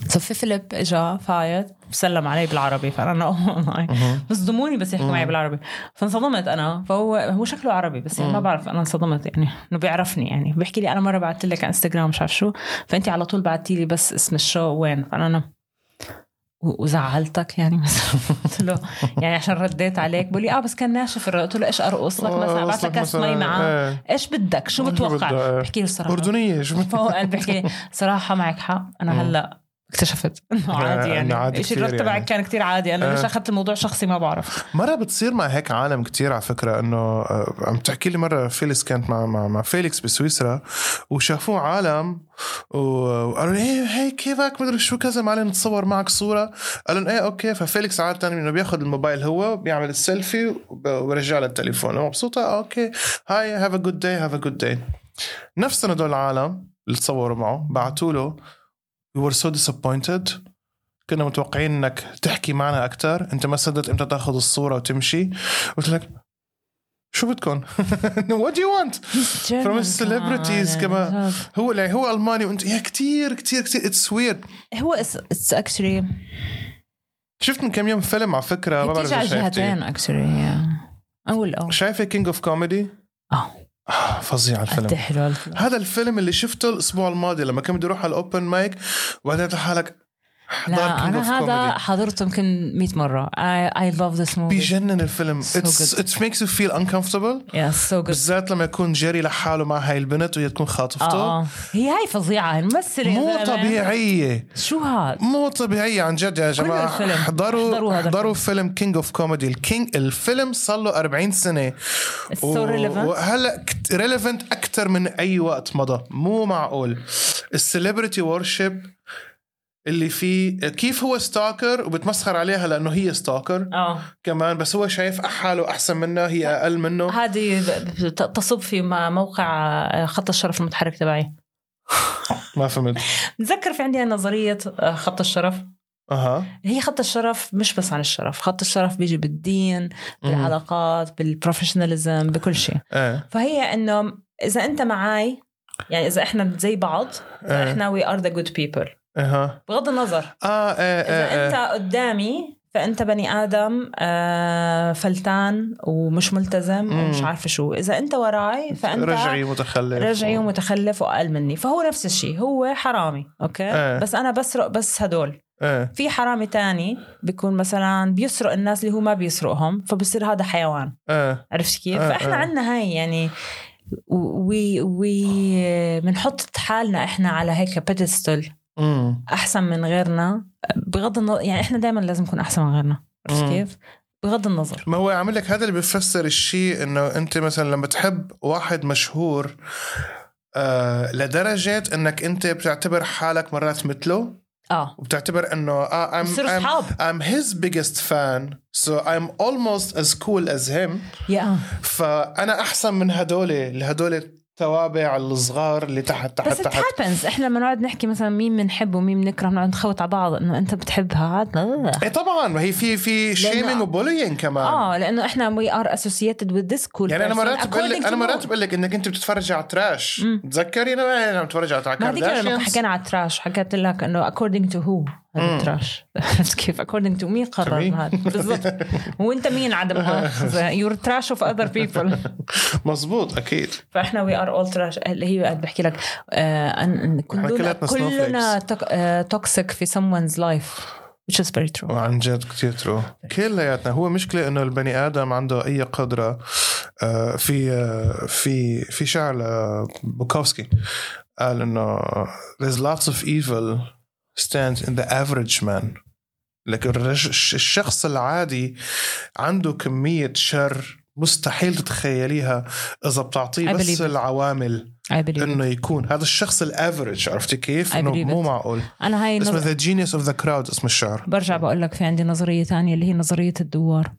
Speaker 2: سو في فيليب اجى فايت سلم علي بالعربي oh فانا اوه ماي بصدموني بس يحكوا معي
Speaker 1: مم.
Speaker 2: بالعربي فانصدمت انا فهو هو شكله عربي بس يعني ما
Speaker 1: مم.
Speaker 2: بعرف انا انصدمت يعني انه بيعرفني يعني بيحكي لي انا مره بعثت لك على انستغرام مش عارف شو فانت على طول بعتي لي بس اسم الشو وين فانا أنا و- وزعلتك يعني مثلا قلت له يعني عشان رديت عليك بقول لي اه بس كان ناشف الرق قلت له ايش ارقص لك
Speaker 1: آه،
Speaker 2: مثلا بعت لك كاس مي معاه
Speaker 1: معاه
Speaker 2: ايش بدك شو
Speaker 1: شو بدك؟
Speaker 2: بتوقع بحكي له الصراحه
Speaker 1: اردنيه شو بت-
Speaker 2: فهو قال بحكي لي صراحه معك حق
Speaker 1: مم.
Speaker 2: انا هلا اكتشفت انه عادي
Speaker 1: إنه
Speaker 2: يعني
Speaker 1: عادي
Speaker 2: ايش
Speaker 1: كتير
Speaker 2: الرد
Speaker 1: يعني.
Speaker 2: تبعك كان كتير عادي انا ليش
Speaker 1: آه.
Speaker 2: اخذت الموضوع شخصي ما بعرف
Speaker 1: مره بتصير مع هيك عالم كتير على فكره انه آه، عم تحكي لي مره فيليكس كانت مع مع, مع فيليكس بسويسرا وشافوه عالم و- وقالوا لي ايه هي كيفك مدري شو كذا معلم نتصور معك صوره قالوا لهم ايه اوكي ففيليكس عاده انه بياخذ الموبايل هو بيعمل السيلفي وب- وبرجع لها التليفون هو مبسوطه آه، اوكي هاي هاف ا جود داي هاف ا جود داي نفس هدول العالم اللي تصوروا معه بعثوا له we were so disappointed كنا متوقعين انك تحكي معنا اكثر انت ما صدقت امتى تاخذ الصوره وتمشي قلت لك شو بدكم وات دو يو want From celebrities كمان. هو لا هو الماني وانت يا كثير كثير كثير اتس ويرد
Speaker 2: هو اتس اكشلي
Speaker 1: شفت من كم يوم فيلم على فكره ما بعرف
Speaker 2: بتيجي على
Speaker 1: إذا شايفتيه
Speaker 2: الجهتين اكشلي اول او
Speaker 1: شايفه كينج اوف كوميدي
Speaker 2: اه
Speaker 1: فظيع
Speaker 2: قد إيه
Speaker 1: الفيلم
Speaker 2: حلو
Speaker 1: هذا الفيلم اللي شفته الاسبوع الماضي لما كنت بدي اروح على الاوبن مايك وبعدين قلت لحالك حضار
Speaker 2: لا
Speaker 1: كينج
Speaker 2: انا
Speaker 1: اوف
Speaker 2: هذا
Speaker 1: كوميدي
Speaker 2: حضرته يمكن 100 مره اي لاف ذس موفي
Speaker 1: بيجنن الفيلم
Speaker 2: So good.
Speaker 1: ات ميكس يو فيل uncomfortable
Speaker 2: يا سو جود
Speaker 1: بالذات لما يكون جيري لحاله مع هاي البنت وهي تكون خاطفته
Speaker 2: اه هي هاي فظيعه الممثله يا
Speaker 1: مو
Speaker 2: زلمة.
Speaker 1: طبيعيه
Speaker 2: شو هاد
Speaker 1: مو طبيعيه عن جد يا جماعه
Speaker 2: الفيلم. احضروا
Speaker 1: احضروا
Speaker 2: هذا
Speaker 1: احضروا فيلم كينج اوف كوميدي الكينج الفيلم صار له 40 سنه
Speaker 2: It's so
Speaker 1: و-
Speaker 2: relevant.
Speaker 1: وهلا ريليفنت اكثر من اي وقت مضى مو معقول السليبرتي وورشيب اللي فيه كيف هو ستاكر وبتمسخر عليها لانه هي ستاكر
Speaker 2: اه
Speaker 1: كمان بس هو شايف حاله احسن منها هي اقل منه
Speaker 2: هذه ب- ت- تصب في ما- موقع آه، خط الشرف المتحرك تبعي
Speaker 1: ما فهمت
Speaker 2: متذكر في عندي نظريه آه، خط الشرف
Speaker 1: اها
Speaker 2: هي خط الشرف مش بس عن الشرف خط الشرف بيجي بالدين
Speaker 1: مم.
Speaker 2: بالعلاقات بالبروفيشناليزم بكل شيء
Speaker 1: ايه
Speaker 2: فهي انه اذا انت معاي يعني اذا احنا زي بعض
Speaker 1: ايه
Speaker 2: احنا وي ار ذا جود بيبل
Speaker 1: اها
Speaker 2: بغض النظر
Speaker 1: اه ايه
Speaker 2: اذا
Speaker 1: ايه
Speaker 2: انت
Speaker 1: ايه
Speaker 2: قدامي فانت بني ادم آه، فلتان ومش ملتزم
Speaker 1: مم.
Speaker 2: ومش عارفه شو اذا انت وراي فانت
Speaker 1: رجعي متخلف
Speaker 2: رجعي ومتخلف واقل مني فهو نفس الشيء هو حرامي اوكي
Speaker 1: إيه.
Speaker 2: بس انا بسرق بس هدول
Speaker 1: ايه
Speaker 2: في حرامي تاني بيكون مثلا بيسرق الناس اللي هو ما بيسرقهم فبصير هذا حيوان
Speaker 1: ايه
Speaker 2: عرفت كيف؟
Speaker 1: آه،
Speaker 2: فاحنا
Speaker 1: آه.
Speaker 2: عندنا هاي يعني وي وي بنحط حالنا احنا على هيك بيدستل
Speaker 1: امم
Speaker 2: احسن من غيرنا بغض النظر يعني احنا دائما لازم نكون احسن من غيرنا عرفت
Speaker 1: مم.
Speaker 2: كيف؟ بغض النظر
Speaker 1: ما هو عامل لك هذا اللي بيفسر الشيء انه انت مثلا لما تحب واحد مشهور آه لدرجه انك انت بتعتبر حالك مرات مثله
Speaker 2: اه
Speaker 1: وبتعتبر انه اه I'm,
Speaker 2: بصيروا
Speaker 1: I'm,
Speaker 2: اصحاب
Speaker 1: I'm his biggest fan so I'm almost as cool as him
Speaker 2: يا آه.
Speaker 1: فانا احسن من هدول اللي هدول التوابع الصغار اللي تحت تحت
Speaker 2: بس it
Speaker 1: تحت
Speaker 2: happens احنا لما نقعد نحكي مثلا مين بنحب ومين بنكره بنقعد نخوت على بعض انه انت بتحبها هذا
Speaker 1: ايه طبعا ما هي في في شيمينج وبولينج كمان
Speaker 2: اه لانه احنا وي ار اسوسييتد وذ ذس
Speaker 1: آه.
Speaker 2: كول
Speaker 1: يعني انا مرات بقول لك انا مرات بقول لك انك انت بتتفرج على تراش
Speaker 2: مم.
Speaker 1: تذكري انا انا عم بتفرج على
Speaker 2: ما هذيك لما
Speaker 1: كارداشيانز
Speaker 2: حكينا على التراش حكيت لك انه according to who هذا
Speaker 1: مم.
Speaker 2: التراش عرفت كيف according to مين
Speaker 1: To me.
Speaker 2: قرر هذا بالضبط وانت مين عدم هذا you're trash of other people
Speaker 1: مزبوط اكيد
Speaker 2: فاحنا وي ار اول تراش اللي هي قاعد بحكي لك آه أن أن كلنا
Speaker 1: كلياتنا
Speaker 2: كلنا توكسيك في someone's life which is very true
Speaker 1: وعن جد كثير ترو
Speaker 2: إيه.
Speaker 1: كلياتنا هو مشكله انه البني ادم عنده اي قدره آه، في آه، في في شعر لبوكوفسكي قال انه there's lots of evil stands in the average man لكن الرج- الش- الشخص العادي عنده كميه شر مستحيل تتخيليها اذا بتعطيه
Speaker 2: I
Speaker 1: بس
Speaker 2: believe it.
Speaker 1: العوامل
Speaker 2: I believe it.
Speaker 1: انه يكون هذا الشخص الافرج عرفتي كيف؟
Speaker 2: I
Speaker 1: انه
Speaker 2: believe
Speaker 1: مو
Speaker 2: it.
Speaker 1: معقول
Speaker 2: انا هاي
Speaker 1: اسمه
Speaker 2: نظ...
Speaker 1: ذا جينيوس اوف ذا كراود اسم الشعر
Speaker 2: برجع بقول لك في عندي نظريه تانية اللي هي نظريه الدوار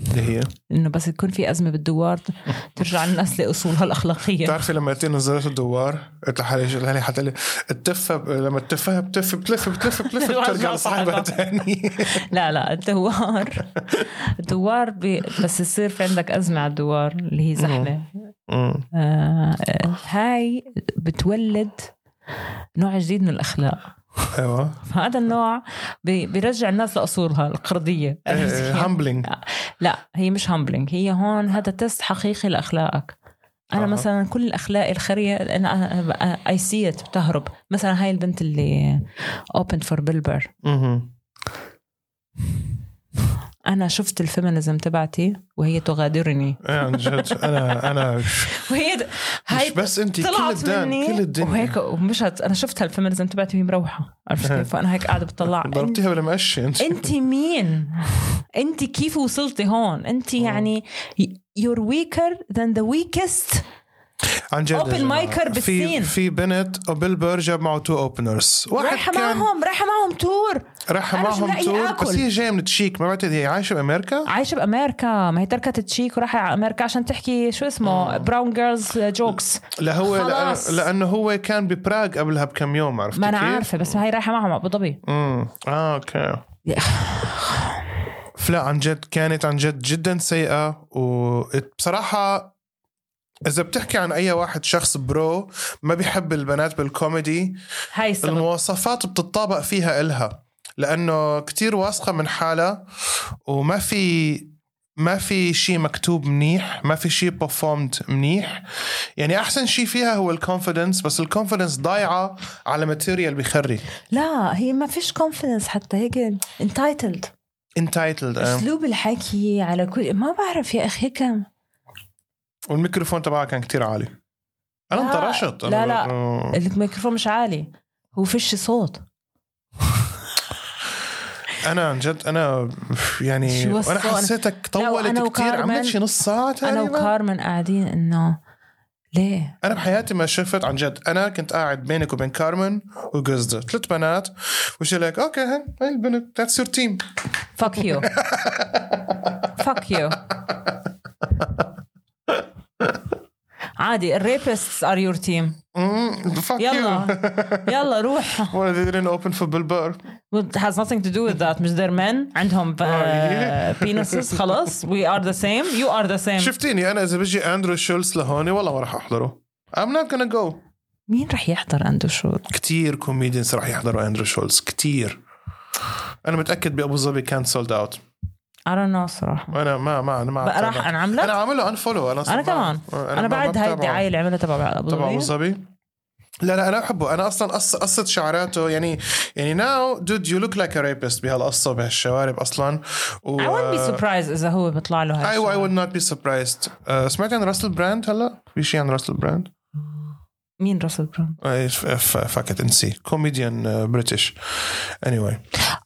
Speaker 1: اللي هي
Speaker 2: انه بس يكون في ازمه بالدوار ترجع الناس لاصولها الاخلاقيه
Speaker 1: بتعرفي لما قلت لي نزلت الدوار قلت لحالي شو- لحالي حتقلي التفه ب... لما التفه بتف بتلف بتلف بتلف
Speaker 2: الدوار
Speaker 1: بترجع
Speaker 2: ما
Speaker 1: لصاحبها تاني
Speaker 2: لا لا الدوار الدوار بي... بس يصير في عندك ازمه على الدوار اللي هي زحمه
Speaker 1: أمم.
Speaker 2: آه... آه، هاي بتولد نوع جديد من الاخلاق
Speaker 1: ايوه
Speaker 2: فهذا النوع بي- بيرجع الناس لاصولها القرديه
Speaker 1: إيه، هامبلينج
Speaker 2: لا هي مش هامبلينج هي هون هذا تست حقيقي لاخلاقك انا
Speaker 1: أها.
Speaker 2: مثلا كل الاخلاق الخريه انا اي سي بتهرب مثلا هاي البنت اللي اوبن فور بيلبر انا شفت الفيمينزم تبعتي وهي تغادرني
Speaker 1: إيه، عن جد انا انا
Speaker 2: وهي د-
Speaker 1: مش
Speaker 2: هاي
Speaker 1: بس انت كل
Speaker 2: طلعت
Speaker 1: الدان
Speaker 2: مني
Speaker 1: كل الدنيا
Speaker 2: وهيك ومشت انا شفتها الفيمينزم تبعتي وهي مروحه عرفت كيف فانا هيك قاعده بتطلع
Speaker 1: ضربتيها بالمقشه انت
Speaker 2: انت مين انت كيف وصلتي هون انت يعني you're weaker than the weakest
Speaker 1: عن جد يا
Speaker 2: open
Speaker 1: جماعة.
Speaker 2: مايكر بالسين.
Speaker 1: في في بنت وبيلبر جاب معه تو اوبنرز
Speaker 2: رايحه
Speaker 1: واحد كان
Speaker 2: معهم رايحه معهم تور
Speaker 1: راح
Speaker 2: أنا مش
Speaker 1: معهم
Speaker 2: لاقي
Speaker 1: تور
Speaker 2: آكل.
Speaker 1: بس هي جايه من تشيك ما بعتقد هي عايشه بامريكا
Speaker 2: عايشه بامريكا ما هي تركت تشيك وراحت على امريكا عشان تحكي شو اسمه براون جيرلز جوكس
Speaker 1: لا هو
Speaker 2: خلاص.
Speaker 1: لأ- لانه هو كان ببراغ قبلها بكم يوم عرفت
Speaker 2: ما انا
Speaker 1: كيف؟
Speaker 2: عارفه بس هي رايحه معهم ابو ظبي
Speaker 1: امم اه اوكي
Speaker 2: يا
Speaker 1: فلا عن جد كانت عن جد جدا سيئه وبصراحه اذا بتحكي عن اي واحد شخص برو ما بيحب البنات بالكوميدي
Speaker 2: هاي السبب
Speaker 1: المواصفات بتطابق فيها إلها لانه كتير واثقه من حالها وما في ما في شيء مكتوب منيح ما في شيء performed منيح يعني احسن شيء فيها هو الكونفيدنس بس الكونفيدنس ضايعه على ماتيريال بخري
Speaker 2: لا هي ما فيش كونفيدنس حتى هيك انتايتلد
Speaker 1: انتايتلد
Speaker 2: اسلوب الحكي على كل ما بعرف يا اخي هيك
Speaker 1: والميكروفون تبعها كان كتير عالي انا
Speaker 2: لا،
Speaker 1: انطرشت
Speaker 2: لا، لا.
Speaker 1: أنا-
Speaker 2: الميكروفون مش عالي هو فيش صوت
Speaker 1: انا عن جد انا يعني
Speaker 2: شو
Speaker 1: انا
Speaker 2: وصلنا؟
Speaker 1: حسيتك
Speaker 2: لا، وأنا
Speaker 1: طولت كتير
Speaker 2: وكارمن-
Speaker 1: عملت شي نص ساعه
Speaker 2: انا
Speaker 1: تقريبا
Speaker 2: وكارمن قاعدين انه ليه؟
Speaker 1: انا بحياتي ما شفت عن جد انا كنت قاعد بينك وبين كارمن وجوزدا ثلاث بنات وش لك اوكي هن هاي البنت ذاتس يور تيم
Speaker 2: فك يو فك يو عادي الريبستس ار يور تيم
Speaker 1: فاك
Speaker 2: يلا
Speaker 1: يو
Speaker 2: يلا روح
Speaker 1: Well, they didn't open football bar.
Speaker 2: It has nothing to do with that مش they're men عندهم
Speaker 1: آه،
Speaker 2: بينسز خلاص we are the same you are the same
Speaker 1: شفتيني انا اذا بيجي اندرو شولز لهوني والله ما راح احضره. I'm not gonna go.
Speaker 2: مين رح يحضر عنده شو
Speaker 1: كتير كوميديانز راح يحضروا اندرو شولز كتير. انا متاكد بابو ظبي كان سولد اوت.
Speaker 2: I don't know صراحة
Speaker 1: انا ما ما انا ما
Speaker 2: بقى
Speaker 1: عم
Speaker 2: راح
Speaker 1: بتابع.
Speaker 2: أنا عاملة
Speaker 1: انا عامل له انفولو انا
Speaker 2: أنا
Speaker 1: صراحة.
Speaker 2: كمان. أنا,
Speaker 1: ما- ما
Speaker 2: بعد هاي
Speaker 1: بتابعه.
Speaker 2: الدعاية اللي عملتها تبع أبو
Speaker 1: تبع ابو
Speaker 2: ظبي
Speaker 1: ظبي لا لا انا بحبه انا اصلا قص- قصه شعراته يعني يعني ناو دود يو لوك لايك ريبست بهالقصه وبهالشوارب اصلا و
Speaker 2: I wouldn't be surprised إذا هو بيطلع له هاي
Speaker 1: ايوه اي
Speaker 2: الشغلة.
Speaker 1: وود نوت بي سربرايزد أه، سمعت عن راسل براند هلا؟ في شيء عن راسل براند؟
Speaker 2: مين راسل براون
Speaker 1: فاكت انسي كوميديان بريتش اني واي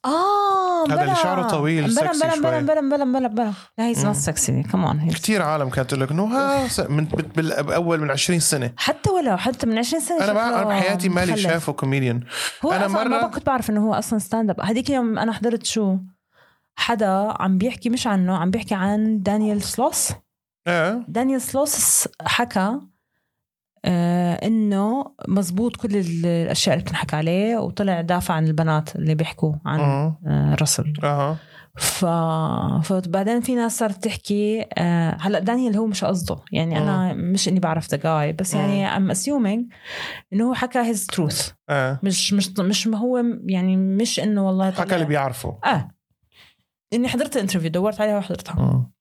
Speaker 2: آه
Speaker 1: هذا اللي
Speaker 2: بلا.
Speaker 1: شعره طويل،
Speaker 2: بلا
Speaker 1: sexy
Speaker 2: بلا بلا
Speaker 1: شوي.
Speaker 2: بلا بلا بلا بلا لا هي نوت سكسي كمان
Speaker 1: كثير عالم كانت تقول لك انه ها س- من بال- بال- باول من 20 سنه
Speaker 2: حتى ولو حتى من 20 سنة
Speaker 1: انا ما انا
Speaker 2: شكله
Speaker 1: بحياتي مالي
Speaker 2: مخلف.
Speaker 1: شافه كوميديان
Speaker 2: هو
Speaker 1: أنا
Speaker 2: أنا أصلا ما
Speaker 1: مرة-
Speaker 2: بقى كنت بعرف إنه هو أصلا ستاند أب هذيك اليوم أنا حضرت شو حدا عم بيحكي مش عنه عم بيحكي عن دانيال سلوس
Speaker 1: ايه
Speaker 2: دانيال سلوس حكى آه انه مزبوط كل ال- الاشياء اللي بتنحكى عليه وطلع دافع عن البنات اللي بيحكوا عن
Speaker 1: أمم.
Speaker 2: آه رسل
Speaker 1: اها
Speaker 2: ف... فبعدين في ناس صارت تحكي آه هلا دانيال هو مش قصده يعني انا مش اني بعرف ذا جاي بس يعني ام اسيومينج انه هو حكى هيز تروث
Speaker 1: ايه
Speaker 2: مش مش مش ما هو يعني مش انه والله
Speaker 1: حكى
Speaker 2: طلع-
Speaker 1: اللي بيعرفه
Speaker 2: اه اني حضرت الانترفيو دورت عليها وحضرتها
Speaker 1: أمم.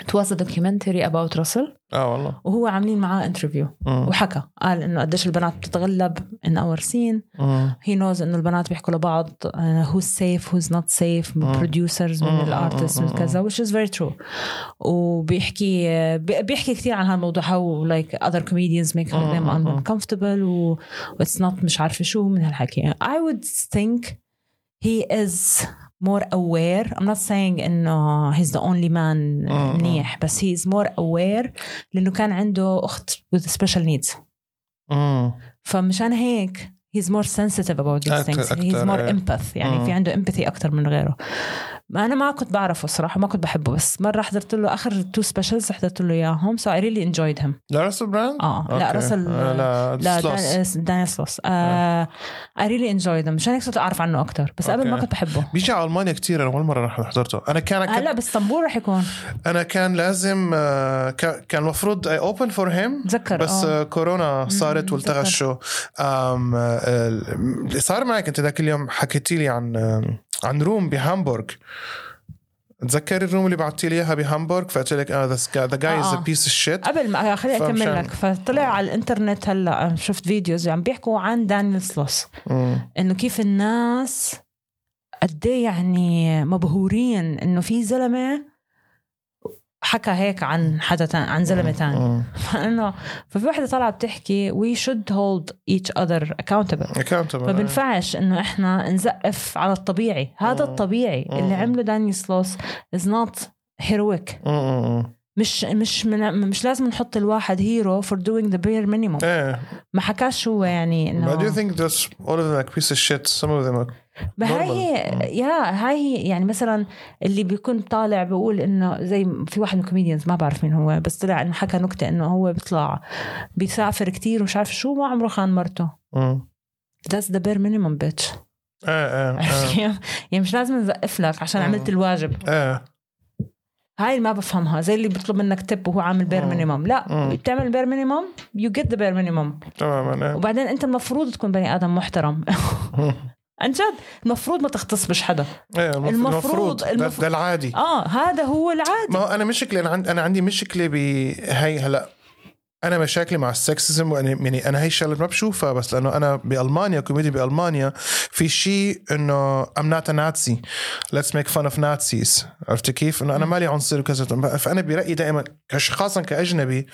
Speaker 2: It was a documentary about راسل
Speaker 1: اه والله
Speaker 2: وهو عاملين معاه انترفيو
Speaker 1: أمم.
Speaker 2: وحكى قال انه قديش البنات بتتغلب ان اور سين
Speaker 1: أمم.
Speaker 2: هي نوز انه البنات بيحكوا لبعض آه، هو سيف هوز نوت سيف من
Speaker 1: مم.
Speaker 2: بروديوسرز من
Speaker 1: مم.
Speaker 2: الارتست من
Speaker 1: مم.
Speaker 2: كذا which is very true وبيحكي بي- بيحكي كثير عن هالموضوع how like other comedians make
Speaker 1: مم.
Speaker 2: them
Speaker 1: مم.
Speaker 2: uncomfortable و it's not مش عارفه شو من هالحكي I would think he is more aware I'm not saying انه he's the only man
Speaker 1: مم.
Speaker 2: منيح بس he is more aware لانه كان عنده اخت with special needs
Speaker 1: أمم.
Speaker 2: فمشان هيك he's more sensitive about these
Speaker 1: أكتر-
Speaker 2: things he's
Speaker 1: أكتر،
Speaker 2: more
Speaker 1: إيه.
Speaker 2: empath يعني
Speaker 1: مم.
Speaker 2: في عنده empathy أكتر من غيره ما أنا ما كنت بعرفه صراحة ما كنت بحبه بس مرة حضرت له آخر تو سبيشلز حضرت له إياهم so I really enjoyed him
Speaker 1: لا راسل براند؟
Speaker 2: آه لا
Speaker 1: أوكي.
Speaker 2: راسل
Speaker 1: آه، لا
Speaker 2: لا
Speaker 1: سلوس.
Speaker 2: دان- دانيال سلوس آه I really enjoyed him مشان هيك صرت أعرف عنه أكتر بس قبل
Speaker 1: أوكي.
Speaker 2: ما كنت بحبه
Speaker 1: بيجي على المانيا كثير انا اول مره رح- حضرته انا كان
Speaker 2: هلا باسطنبول رح يكون
Speaker 1: انا كان لازم آه، ك- كان المفروض اي اوبن فور هيم
Speaker 2: بتذكر
Speaker 1: بس
Speaker 2: آه.
Speaker 1: آه، كورونا صارت
Speaker 2: مم،
Speaker 1: والتغى
Speaker 2: بتذكر.
Speaker 1: الشو آم، آه، ال- اللي صار معك انت ذاك اليوم حكيتي لي عن آم، عن روم بهامبورغ تذكري الروم اللي بعتي لي اياها بهامبورغ فقلت لك اه ذا جاي از
Speaker 2: آه،
Speaker 1: ا
Speaker 2: آه.
Speaker 1: بيس اوف شيت
Speaker 2: قبل ما آه، خليني
Speaker 1: فمشان-
Speaker 2: اكمل لك فطلع على الانترنت هلا شفت فيديوز عم بيحكوا عن دانيال سلوس انه كيف الناس قد إيه يعني مبهورين انه في زلمه حكى هيك عن حدا تان عن زلمه تاني فانه ففي وحده طالعه بتحكي we should hold each other accountable ما
Speaker 1: اكاونتبل
Speaker 2: بنفعش انه احنا نزقف على الطبيعي هذا
Speaker 1: مم.
Speaker 2: الطبيعي اللي
Speaker 1: مم.
Speaker 2: عمله داني سلوس is not heroic مش مش من مش لازم نحط الواحد هيرو for doing the bare minimum
Speaker 1: ايه
Speaker 2: ما حكاش هو يعني
Speaker 1: But do you
Speaker 2: انه
Speaker 1: think that's all of them like piece of shit? Some of them are.
Speaker 2: ما هاي
Speaker 1: normal.
Speaker 2: هي يا هاي هي يعني مثلا اللي بيكون طالع بيقول انه زي في واحد من الكوميديانز ما بعرف مين هو بس طلع انه حكى نكته انه هو بيطلع بيسافر كتير ومش عارف شو ما عمره خان مرته
Speaker 1: مم.
Speaker 2: That's the bare minimum bitch
Speaker 1: ايه ايه ايه
Speaker 2: عرفت كيف؟ يعني مش لازم نزقف لك عشان
Speaker 1: مم.
Speaker 2: عملت الواجب
Speaker 1: ايه
Speaker 2: هاي اللي ما بفهمها زي اللي بيطلب منك تب وهو عامل بير
Speaker 1: مم.
Speaker 2: مينيمم لا
Speaker 1: مم.
Speaker 2: بتعمل بير مينيمم يو جيت ذا بير مينيمم
Speaker 1: تماما ايه
Speaker 2: وبعدين انت المفروض تكون بني ادم محترم عن جد المفروض ما تختصبش حدا
Speaker 1: ايه المف-
Speaker 2: المفروض-
Speaker 1: المفروض ده-
Speaker 2: المفروض-
Speaker 1: ده العادي
Speaker 2: اه هذا هو العادي
Speaker 1: ما هو انا مشكله انا عندي انا عندي مشكله بهي هلا انا مشاكلي مع السكسزم وأنا- يعني انا هي الشغله ما بشوفها بس لانه انا بالمانيا كوميدي بالمانيا في شيء انه ام نوت ناتسي ليتس ميك فن اوف ناتسيز عرفت كيف؟ انه انا مالي عنصري وكذا فانا برايي دائما كش- خاصه كاجنبي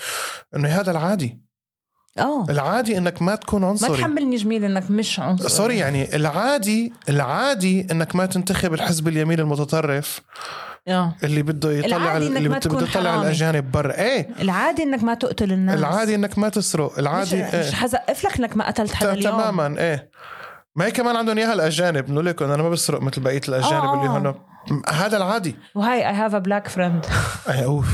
Speaker 1: انه هذا العادي
Speaker 2: اه
Speaker 1: العادي انك ما تكون
Speaker 2: ما
Speaker 1: عنصري
Speaker 2: تحملني جميل انك مش عنصري
Speaker 1: Uh, سوري يعني العادي العادي انك ما تنتخب الحزب اليمين المتطرف
Speaker 2: اه
Speaker 1: اللي بده يطلع
Speaker 2: العادي إنك
Speaker 1: اللي
Speaker 2: ما
Speaker 1: بده
Speaker 2: تكون
Speaker 1: بده يطلع
Speaker 2: حرامي.
Speaker 1: الاجانب برا ايه
Speaker 2: العادي انك ما تقتل الناس
Speaker 1: العادي انك ما تسرق
Speaker 2: نعم. مش,
Speaker 1: العادي إيه.
Speaker 2: مش حزقف لك انك ما قتلت حدا
Speaker 1: ت-
Speaker 2: اليوم
Speaker 1: تماما ايه ما هي كمان عندهم اياها الاجانب انه لكم انا ما بسرق مثل بقيه الاجانب
Speaker 2: آه،
Speaker 1: اللي
Speaker 2: آه.
Speaker 1: هن هذا العادي
Speaker 2: وهاي اي هاف ا بلاك فريند
Speaker 1: إيه، اوف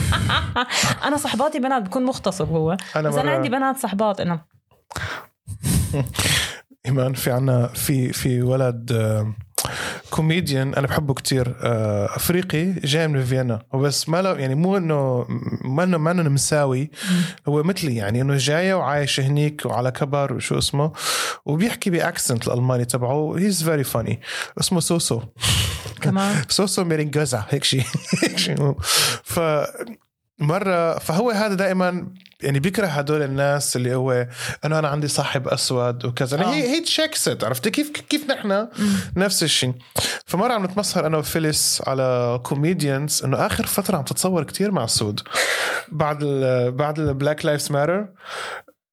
Speaker 2: انا صحباتي بنات بكون مغتصب هو
Speaker 1: أنا
Speaker 2: بس انا
Speaker 1: مرة-
Speaker 2: عندي بنات صحبات انا
Speaker 1: ايمان في عنا في في ولد آه، كوميديان انا بحبه كتير آه، افريقي جاي من فيينا وبس ما له يعني مو انه ما انه ما انه نمساوي هو مثلي يعني انه جاي وعايش هنيك وعلى كبر وشو اسمه وبيحكي باكسنت الالماني تبعه هيز فيري فاني اسمه سوسو
Speaker 2: كمان
Speaker 1: سوسو ميرينجوزا هيك شيء هيك شيء هو. ف مرة فهو هذا دائما يعني بيكره هدول الناس اللي هو انه انا عندي صاحب اسود وكذا يعني
Speaker 2: آه.
Speaker 1: هي هي تشيكست عرفتي كيف كيف نحن نفس الشيء فمره عم نتمسخر انا وفيليس على كوميديانز انه اخر فتره عم تتصور كتير مع السود بعد ال بعد البلاك لايفز ماتر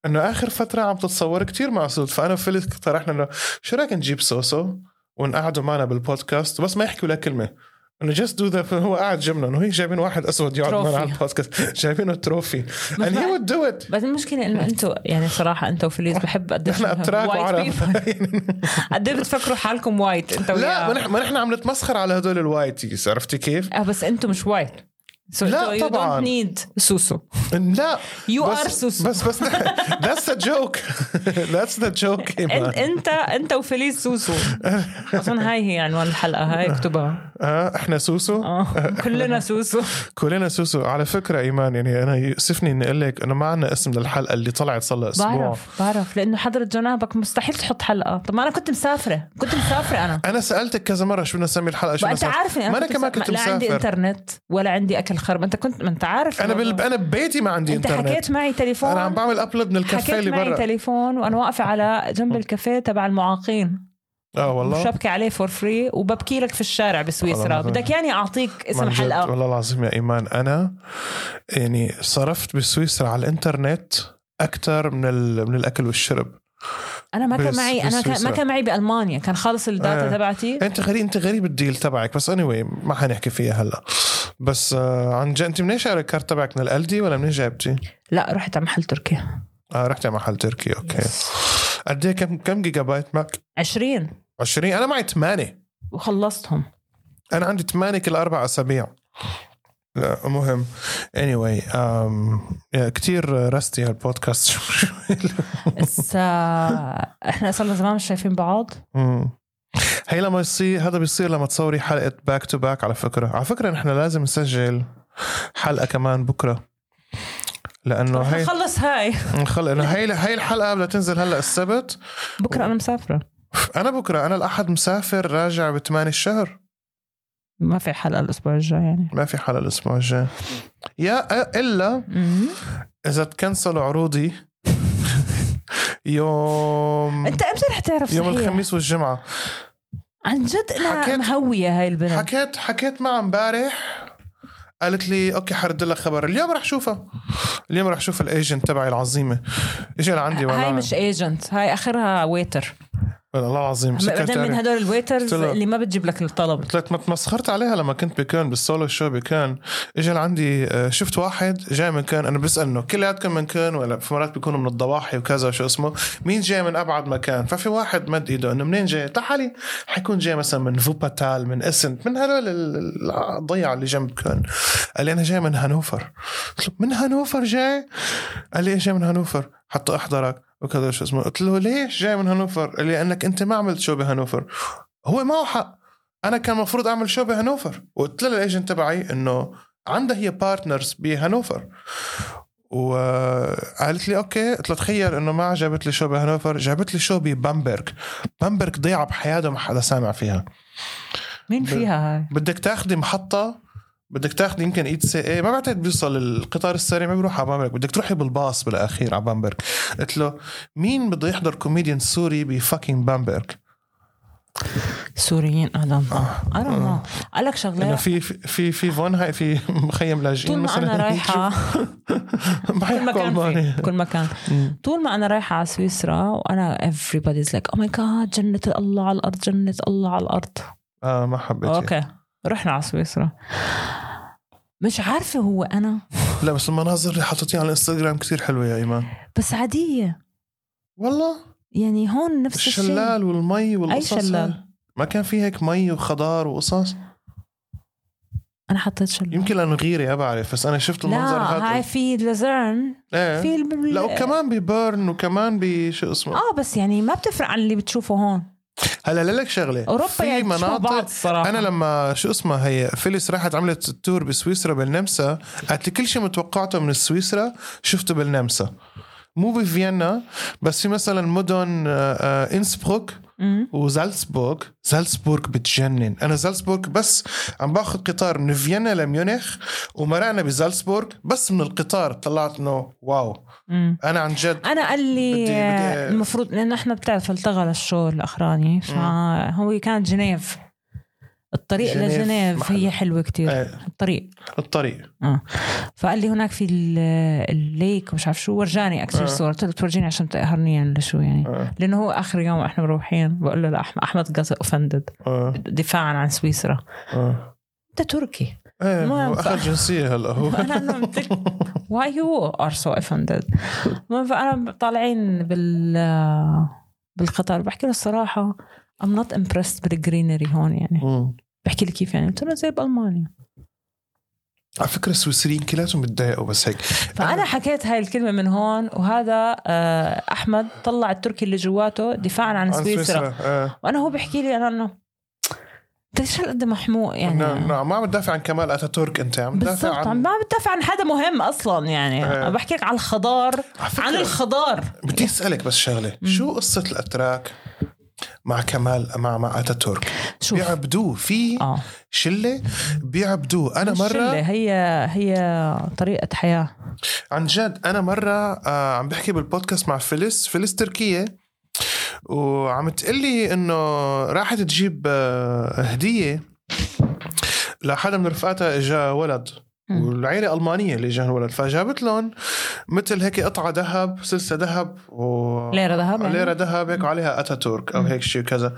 Speaker 1: انه اخر فتره عم تتصور كتير مع السود فانا وفيليس اقترحنا انه شو رايك نجيب سوسو ونقعدوا معنا بالبودكاست بس ما يحكي ولا كلمه انه جاست دو ذا هو قاعد جنبنا انه هي جايبين واحد اسود يقعد معنا
Speaker 2: تروفي.
Speaker 1: على البودكاست جايبينه تروفي and he
Speaker 2: ما-
Speaker 1: would do it
Speaker 2: بس المشكلة انه انتوا يعني صراحة انتوا وفليس بحب قد
Speaker 1: نحن اتراك وعرب
Speaker 2: قد ايه بتفكروا حالكم وايت انتوا
Speaker 1: لا ما
Speaker 2: وياه.
Speaker 1: نحن- ما نحن عم نتمسخر على هدول الوايتيز عرفتي كيف؟
Speaker 2: اه بس انتوا مش وايت So
Speaker 1: لا
Speaker 2: you
Speaker 1: طبعاً.
Speaker 2: don't need سوسو
Speaker 1: لا
Speaker 2: You
Speaker 1: بس
Speaker 2: are سوسو.
Speaker 1: بس بس that's the joke that's the joke
Speaker 2: انت
Speaker 1: إيمان.
Speaker 2: انت انت وفليس سوسو اظن هاي هي عنوان الحلقة هاي اكتبها
Speaker 1: آه احنا سوسو
Speaker 2: اه كلنا سوسو
Speaker 1: كلنا سوسو على فكره ايمان يعني انا يؤسفني اني اقول لك انه ما عندنا اسم للحلقه اللي طلعت صار لها اسبوع
Speaker 2: بعرف بعرف لانه حضرة جنابك مستحيل تحط حلقة طب ما انا كنت مسافرة كنت مسافرة انا
Speaker 1: انا سالتك كذا مره شو بدنا نسمي الحلقه شو بدنا
Speaker 2: وانت
Speaker 1: نسمي-
Speaker 2: عارفني
Speaker 1: ما
Speaker 2: انا
Speaker 1: انا كمان كنت
Speaker 2: لا عندي
Speaker 1: مسافر
Speaker 2: انترنت ولا عندي اكل خرب انت كنت ما انت عارف
Speaker 1: انا بال... انا ببيتي ما عندي
Speaker 2: انت
Speaker 1: انترنت
Speaker 2: حكيت معي تليفون
Speaker 1: انا عم بعمل ابلود من الكافيه
Speaker 2: حكيت
Speaker 1: اللي
Speaker 2: معي
Speaker 1: برا
Speaker 2: تليفون وانا واقفه على جنب الكافيه تبع المعاقين
Speaker 1: اه والله
Speaker 2: وشبكه عليه فور فري وببكي لك في الشارع
Speaker 1: الله
Speaker 2: بسويسرا
Speaker 1: العظيم.
Speaker 2: بدك يعني اعطيك اسم
Speaker 1: عن جد،
Speaker 2: حلقه
Speaker 1: والله العظيم يا ايمان انا يعني صرفت بسويسرا على الانترنت اكثر من ال... من الاكل والشرب
Speaker 2: انا ما كان
Speaker 1: بس-
Speaker 2: معي انا كان
Speaker 1: بسويسرا.
Speaker 2: ما كان معي بالمانيا كان خالص الداتا
Speaker 1: آه.
Speaker 2: تبعتي
Speaker 1: انت غريب انت غريب الديل تبعك بس اني anyway ما حنحكي فيها هلا بس آه، عن جد انت منين شاري الكارت تبعك من الالدي ولا منين جايبتي؟
Speaker 2: لا رحت على محل تركي
Speaker 1: اه رحت على محل تركي اوكي قد ايه كم كم جيجا بايت معك؟
Speaker 2: 20
Speaker 1: 20 انا معي 8
Speaker 2: وخلصتهم
Speaker 1: انا عندي 8 كل اربع اسابيع لا مهم anyway um, كثير رستي هالبودكاست
Speaker 2: بس آه، احنا صرنا زمان مش شايفين بعض
Speaker 1: مم. هي لما يصير هذا بيصير لما تصوري حلقه باك تو باك على فكره على فكره نحن لازم نسجل حلقه كمان بكره لانه هي
Speaker 2: خلص هاي
Speaker 1: نخلق انه هي هي الحلقه بدها تنزل هلا السبت
Speaker 2: بكره انا مسافره
Speaker 1: انا بكره انا الاحد مسافر راجع بثمانية الشهر
Speaker 2: ما في حلقه الاسبوع الجاي يعني
Speaker 1: ما في حلقه الاسبوع الجاي يا الا
Speaker 2: مم.
Speaker 1: اذا تكنسلوا عروضي يوم
Speaker 2: انت امتى رح تعرف
Speaker 1: يوم
Speaker 2: صحيح؟
Speaker 1: الخميس والجمعه
Speaker 2: عن جد لها
Speaker 1: حكيت-
Speaker 2: مهوية هاي البنت
Speaker 1: حكيت حكيت معها امبارح قالت لي اوكي حرد لك خبر اليوم رح شوفها اليوم رح شوف الايجنت تبعي العظيمه اجى لعندي
Speaker 2: هاي
Speaker 1: والله
Speaker 2: مش ايجنت هاي اخرها ويتر
Speaker 1: والله العظيم
Speaker 2: بعدين من
Speaker 1: سكرتيري
Speaker 2: هدول الويترز
Speaker 1: قلت له-
Speaker 2: اللي ما بتجيب لك الطلب
Speaker 1: قلت لك ما تمسخرت عليها لما كنت بكان بالسولو شو بكان اجى لعندي آه، شفت واحد جاي من كان انا بسال انه كلياتكم من كان ولا في مرات بيكونوا من الضواحي وكذا شو اسمه مين جاي من ابعد مكان ففي واحد مد ايده انه منين جاي تعالي حيكون جاي مثلا من فوباتال من اسنت من هذول ال- الضيعه اللي جنب كان قال لي انا جاي من هانوفر قلت له من هانوفر جاي قال لي إيه جاي من هانوفر حتى احضرك وكذا شو اسمه قلت له ليش جاي من هانوفر قال لي انك انت ما عملت شو بهانوفر هو معه حق انا كان المفروض اعمل شو بهانوفر وقلت لها الايجنت تبعي انه عندها هي بارتنرز بهانوفر وقالت لي اوكي قلت لها تخيل انه ما جابت لي شو بهانوفر جابت لي شو ببامبرg بامبرg ضيعه بحياته ما حدا سامع فيها
Speaker 2: مين فيها هاي
Speaker 1: بدك تاخذي محطه بدك تاخذي يمكن اي سي اي ما بعتقد بيوصل القطار السريع ما بيروح على بامبرك بدك تروحي بالباص بالاخير على بامبرك قلت له مين بده يحضر كوميديان سوري بفاكينج بامبرك
Speaker 2: سوريين ادم انا ما قال لك
Speaker 1: انه
Speaker 2: شغله
Speaker 1: آه. في في في فون هاي في مخيم لاجئين
Speaker 2: طول ما
Speaker 1: مثلا
Speaker 2: انا رايحه كل
Speaker 1: بحكوا
Speaker 2: مكان
Speaker 1: الماني
Speaker 2: في كل مكان طول ما انا رايحه على سويسرا وانا everybody's like oh my god جنه الله على الارض جنه الله على الارض
Speaker 1: اه ما حبيت
Speaker 2: اوكي رحنا على سويسرا مش عارفه هو انا
Speaker 1: لا بس المناظر اللي حاططيها على الانستغرام كثير حلوه يا ايمان
Speaker 2: بس عاديه
Speaker 1: والله
Speaker 2: يعني هون نفس الشيء
Speaker 1: الشلال والمي
Speaker 2: اي
Speaker 1: والقصص هاي.
Speaker 2: شلال
Speaker 1: ما كان في هيك مي وخضار وقصص
Speaker 2: انا حطيت شلال
Speaker 1: يمكن لانه غيري ما بعرف بس انا شفت المنظر
Speaker 2: لا هاي
Speaker 1: هذا
Speaker 2: في لازرن
Speaker 1: ايه
Speaker 2: في الب-
Speaker 1: لا وكمان ببيرن وكمان بشو اسمه
Speaker 2: اه بس يعني ما بتفرق عن اللي بتشوفه هون
Speaker 1: هلا لك شغله
Speaker 2: اوروبا
Speaker 1: في
Speaker 2: يعني بتشبه بعض
Speaker 1: مناطق
Speaker 2: الصراحه
Speaker 1: انا لما شو اسمها هي فيليس راحت عملت التور بسويسرا بالنمسا قالت لي كل شيء متوقعته من سويسرا شفته بالنمسا مو بفيينا بس في مثلا مدن آه، آه، انسبروك
Speaker 2: مم.
Speaker 1: وزالزبورغ زالزبورغ بتجنن انا زالزبورغ بس عم باخذ قطار من فيينا لميونخ ومرقنا بزالزبورغ بس من القطار طلعت انه واو
Speaker 2: مم.
Speaker 1: انا عن جد
Speaker 2: انا قال لي آه،
Speaker 1: بدي- بدي-
Speaker 2: المفروض لانه احنا بتعرف التغى للشغل الاخراني فهو كان جنيف الطريق
Speaker 1: جنيف
Speaker 2: لجنيف
Speaker 1: محل.
Speaker 2: هي حلوه كتير
Speaker 1: آه،
Speaker 2: الطريق آه.
Speaker 1: الطريق
Speaker 2: فقال لي هناك في ال- الليك ومش عارف شو ورجاني اكثر
Speaker 1: آه.
Speaker 2: صور قلت له تورجيني عشان تقهرني ولا شو يعني
Speaker 1: آه،
Speaker 2: لانه هو اخر يوم احنا مروحين بقول له لا أحم- احمد قصد اوفندد
Speaker 1: آه،
Speaker 2: دفاعا عن سويسرا
Speaker 1: آه.
Speaker 2: انت تركي
Speaker 1: ايه
Speaker 2: ما
Speaker 1: هو
Speaker 2: ينفع.
Speaker 1: اخذ جنسيه هلا هو
Speaker 2: انا أنا قلت لك why you are so offended المهم فانا طالعين بال بالقطار بحكي له الصراحه I'm not impressed بالجرينري هون يعني
Speaker 1: مم.
Speaker 2: بحكي لي كيف يعني قلت له زي بالمانيا
Speaker 1: على فكره السويسريين كلاتهم بتضايقوا بس هيك
Speaker 2: فانا حكيت هاي الكلمه من هون وهذا آه، احمد طلع التركي اللي جواته دفاعا عن
Speaker 1: عن
Speaker 2: سويسرا
Speaker 1: آه.
Speaker 2: وانا هو بحكي لي انا انه انت ليش هالقد محموق
Speaker 1: نعم
Speaker 2: يعني
Speaker 1: نعم ما عم تدافع عن كمال اتاتورك انت عم تدافع
Speaker 2: بالضبط
Speaker 1: عن
Speaker 2: ما بدافع عن حدا مهم اصلا يعني
Speaker 1: آه.
Speaker 2: أنا بحكيك على الخضار
Speaker 1: على فكرة،
Speaker 2: عن الخضار
Speaker 1: بدي اسالك بس شغله
Speaker 2: مم.
Speaker 1: شو قصه الاتراك مع كمال مع مع اتاتورك
Speaker 2: شوف
Speaker 1: بيعبدوه في
Speaker 2: اه
Speaker 1: شله بيعبدوه انا
Speaker 2: مش
Speaker 1: مره
Speaker 2: شلة، هي هي طريقة حياة
Speaker 1: عن جد انا مره آه عم بحكي بالبودكاست مع فيليس فيليس تركيه وعم تقلي انه راحت تجيب آه هديه لحدا من رفقاتها اجا ولد
Speaker 2: مم.
Speaker 1: والعيلة ألمانية اللي جاهم الولد فجابت لهم مثل هيك قطعة ذهب سلسلة ذهب و
Speaker 2: ليرة ذهب يعني؟
Speaker 1: ليرة ذهب هيك وعليها اتاتورك او
Speaker 2: مم.
Speaker 1: هيك شيء كذا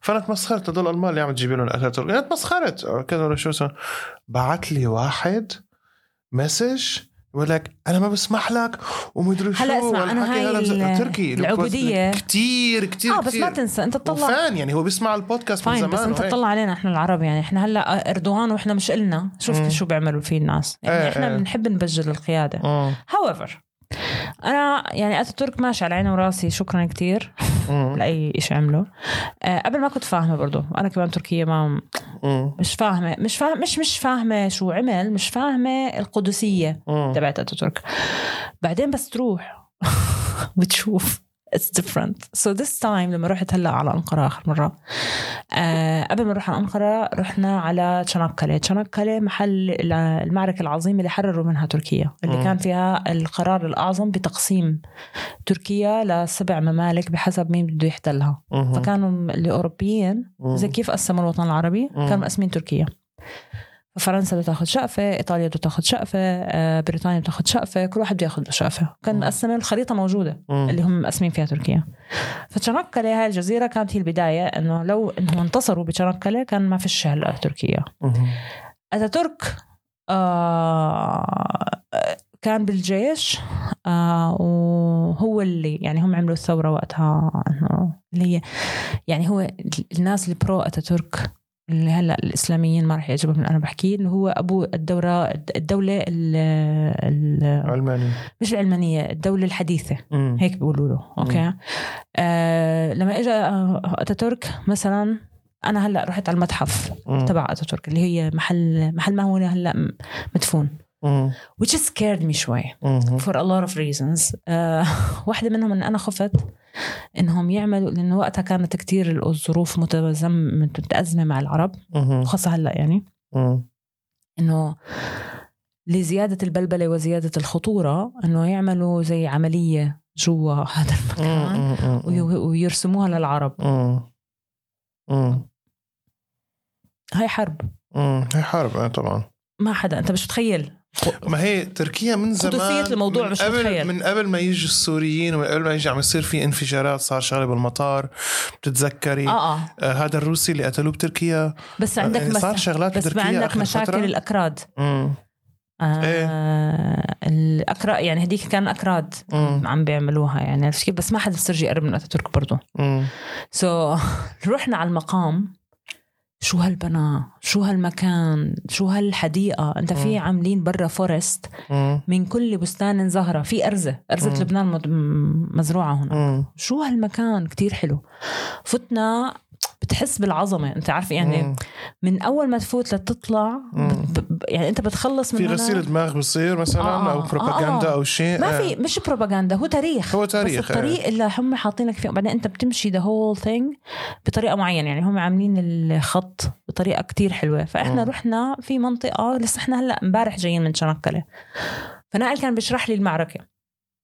Speaker 1: فانا تمسخرت هدول الالمان اللي عم تجيب لهم اتاتورك انا تمسخرت أو كذا ولا شو اسمه بعت لي واحد مسج بقول لك انا ما بسمح لك ومدري شو
Speaker 2: هلا اسمع، أنا
Speaker 1: والحكي
Speaker 2: هاي
Speaker 1: هذا بس-
Speaker 2: ال-
Speaker 1: تركي
Speaker 2: العبودية.
Speaker 1: كثير كثير
Speaker 2: اه بس ما تنسى انت تطلع
Speaker 1: وفان يعني هو بيسمع البودكاست من
Speaker 2: فاين بس
Speaker 1: زمان
Speaker 2: انت
Speaker 1: وهيك.
Speaker 2: تطلع علينا احنا العرب يعني احنا هلا اردوغان واحنا مش النا شوف
Speaker 1: مم.
Speaker 2: شو بيعملوا فيه الناس يعني
Speaker 1: إيه،
Speaker 2: احنا
Speaker 1: إيه.
Speaker 2: بنحب نبجل القيادة
Speaker 1: مم.
Speaker 2: however انا يعني اتاتورك ماشي على عيني وراسي شكرا كثير
Speaker 1: مم.
Speaker 2: لاي شيء عمله آه قبل ما كنت فاهمه برضه انا كمان تركيه ما
Speaker 1: مم.
Speaker 2: مش فاهمه مش فاهمه مش مش فاهمه شو عمل مش فاهمه القدسيه
Speaker 1: مم.
Speaker 2: تبعت اتاتورك بعدين بس تروح بتشوف اتس ديفرنت سو ذس تايم لما رحت هلا على انقره اخر مره آه قبل ما نروح على انقره رحنا على تشانكالي تشانكالي محل ال- المعركه العظيمه اللي حرروا منها تركيا اللي
Speaker 1: مم.
Speaker 2: كان فيها القرار الاعظم بتقسيم تركيا لسبع ممالك بحسب مين بده يحتلها
Speaker 1: مم.
Speaker 2: فكانوا الاوروبيين
Speaker 1: مم.
Speaker 2: زي كيف قسموا الوطن العربي
Speaker 1: مم.
Speaker 2: كانوا مقسمين تركيا فرنسا بدها تاخذ شقفه ايطاليا بدها تاخذ شقفه آه، بريطانيا بدها تاخذ شقفه كل واحد بده ياخذ له شقفه كان
Speaker 1: مم.
Speaker 2: مقسمه الخريطه موجوده
Speaker 1: مم.
Speaker 2: اللي هم مقسمين فيها تركيا فتشانكله هاي الجزيره كانت هي البدايه انه لو انهم انتصروا بتشانكله كان ما فيش هلا تركيا
Speaker 1: مم.
Speaker 2: اتاتورك آه كان بالجيش آه وهو اللي يعني هم عملوا الثوره وقتها إنه اللي هي يعني هو الناس اللي برو اتاتورك اللي هلا الاسلاميين ما رح يعجبهم اللي انا بحكيه اللي هو ابو الدوره الدوله ال ال
Speaker 1: علماني
Speaker 2: مش العلمانيه الدوله الحديثه
Speaker 1: مم.
Speaker 2: هيك بيقولوا له اوكي آه لما اجى اتاتورك مثلا انا هلا رحت على المتحف
Speaker 1: مم.
Speaker 2: تبع اتاتورك اللي هي محل محل ما هو هلا م- مدفون
Speaker 1: مم.
Speaker 2: which scared me شوي
Speaker 1: مم.
Speaker 2: for a lot of reasons آه واحدة منهم ان انا خفت انهم يعملوا لانه وقتها كانت كتير الظروف متزم متأزمة مع العرب
Speaker 1: مم.
Speaker 2: خاصة هلا يعني
Speaker 1: مم.
Speaker 2: انه لزيادة البلبلة وزيادة الخطورة انه يعملوا زي عملية جوا هذا المكان
Speaker 1: مم. مم.
Speaker 2: وي- ويرسموها للعرب
Speaker 1: مم. مم.
Speaker 2: هاي حرب
Speaker 1: مم. هي حرب آه، طبعا
Speaker 2: ما حدا انت مش متخيل
Speaker 1: ما هي تركيا من زمان
Speaker 2: قدسية الموضوع
Speaker 1: من
Speaker 2: مش
Speaker 1: قبل
Speaker 2: متخيل.
Speaker 1: من قبل ما يجوا السوريين ومن قبل ما يجي عم يصير في انفجارات صار شغله بالمطار بتتذكري آه.
Speaker 2: اه اه
Speaker 1: آه هذا الروسي اللي قتلوه بتركيا
Speaker 2: بس عندك
Speaker 1: يعني صار
Speaker 2: مس...
Speaker 1: شغلات
Speaker 2: بس ما
Speaker 1: بتركيا
Speaker 2: عندك
Speaker 1: آخر
Speaker 2: مشاكل
Speaker 1: فترة.
Speaker 2: الاكراد
Speaker 1: مم.
Speaker 2: آه
Speaker 1: إيه.
Speaker 2: الاكراد آه، يعني هديك كان اكراد
Speaker 1: مم.
Speaker 2: عم بيعملوها يعني عرفت كيف بس ما حدا صار يقرب من اتاتورك برضه
Speaker 1: مم.
Speaker 2: سو so, رحنا على المقام شو هالبناء شو هالمكان شو هالحديقه انت في عاملين برا فورست
Speaker 1: مم.
Speaker 2: من كل بستان زهره في ارزه ارزه
Speaker 1: مم.
Speaker 2: لبنان مد- م- مزروعه هنا
Speaker 1: مم.
Speaker 2: شو هالمكان كتير حلو فتنا بتحس بالعظمه انت عارف يعني
Speaker 1: مم.
Speaker 2: من اول ما تفوت لتطلع
Speaker 1: مم.
Speaker 2: بت- ب- يعني انت بتخلص من
Speaker 1: في
Speaker 2: هنا-
Speaker 1: غسيل دماغ بصير مثلا
Speaker 2: آه، آه،
Speaker 1: او
Speaker 2: آه،
Speaker 1: بروباغندا
Speaker 2: آه.
Speaker 1: او شيء
Speaker 2: ما
Speaker 1: آه.
Speaker 2: في مش بروباغندا هو تاريخ
Speaker 1: هو
Speaker 2: بس
Speaker 1: تاريخ آه.
Speaker 2: الطريق اللي هم حاطين لك فيه بعدين انت بتمشي ذا هول ثينج بطريقه معينه يعني هم عاملين الخط بطريقه كتير حلوه فاحنا
Speaker 1: مم.
Speaker 2: رحنا في منطقه لسه احنا هلا امبارح جايين من شنقله فنائل كان بيشرح لي المعركه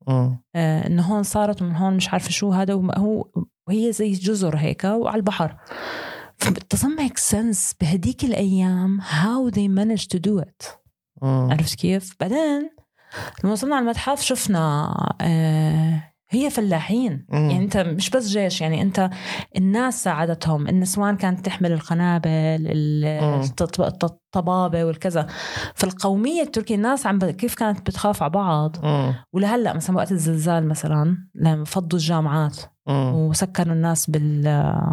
Speaker 1: مم.
Speaker 2: آه، انه هون صارت ومن هون مش عارفه شو هذا وما هو وهي زي جزر هيك وعلى البحر doesn't make sense بهديك الايام how they managed to do it
Speaker 1: مم.
Speaker 2: عرفت كيف؟ بعدين لما وصلنا على المتحف شفنا آه هي فلاحين
Speaker 1: مم.
Speaker 2: يعني انت مش بس جيش يعني انت الناس ساعدتهم النسوان كانت تحمل القنابل ال-
Speaker 1: مم.
Speaker 2: التط- الطبابه والكذا فالقوميه التركيه الناس عم ب- كيف كانت بتخاف على بعض
Speaker 1: مم.
Speaker 2: ولهلا مثلا وقت الزلزال مثلا لما فضوا الجامعات
Speaker 1: مم.
Speaker 2: وسكروا الناس بال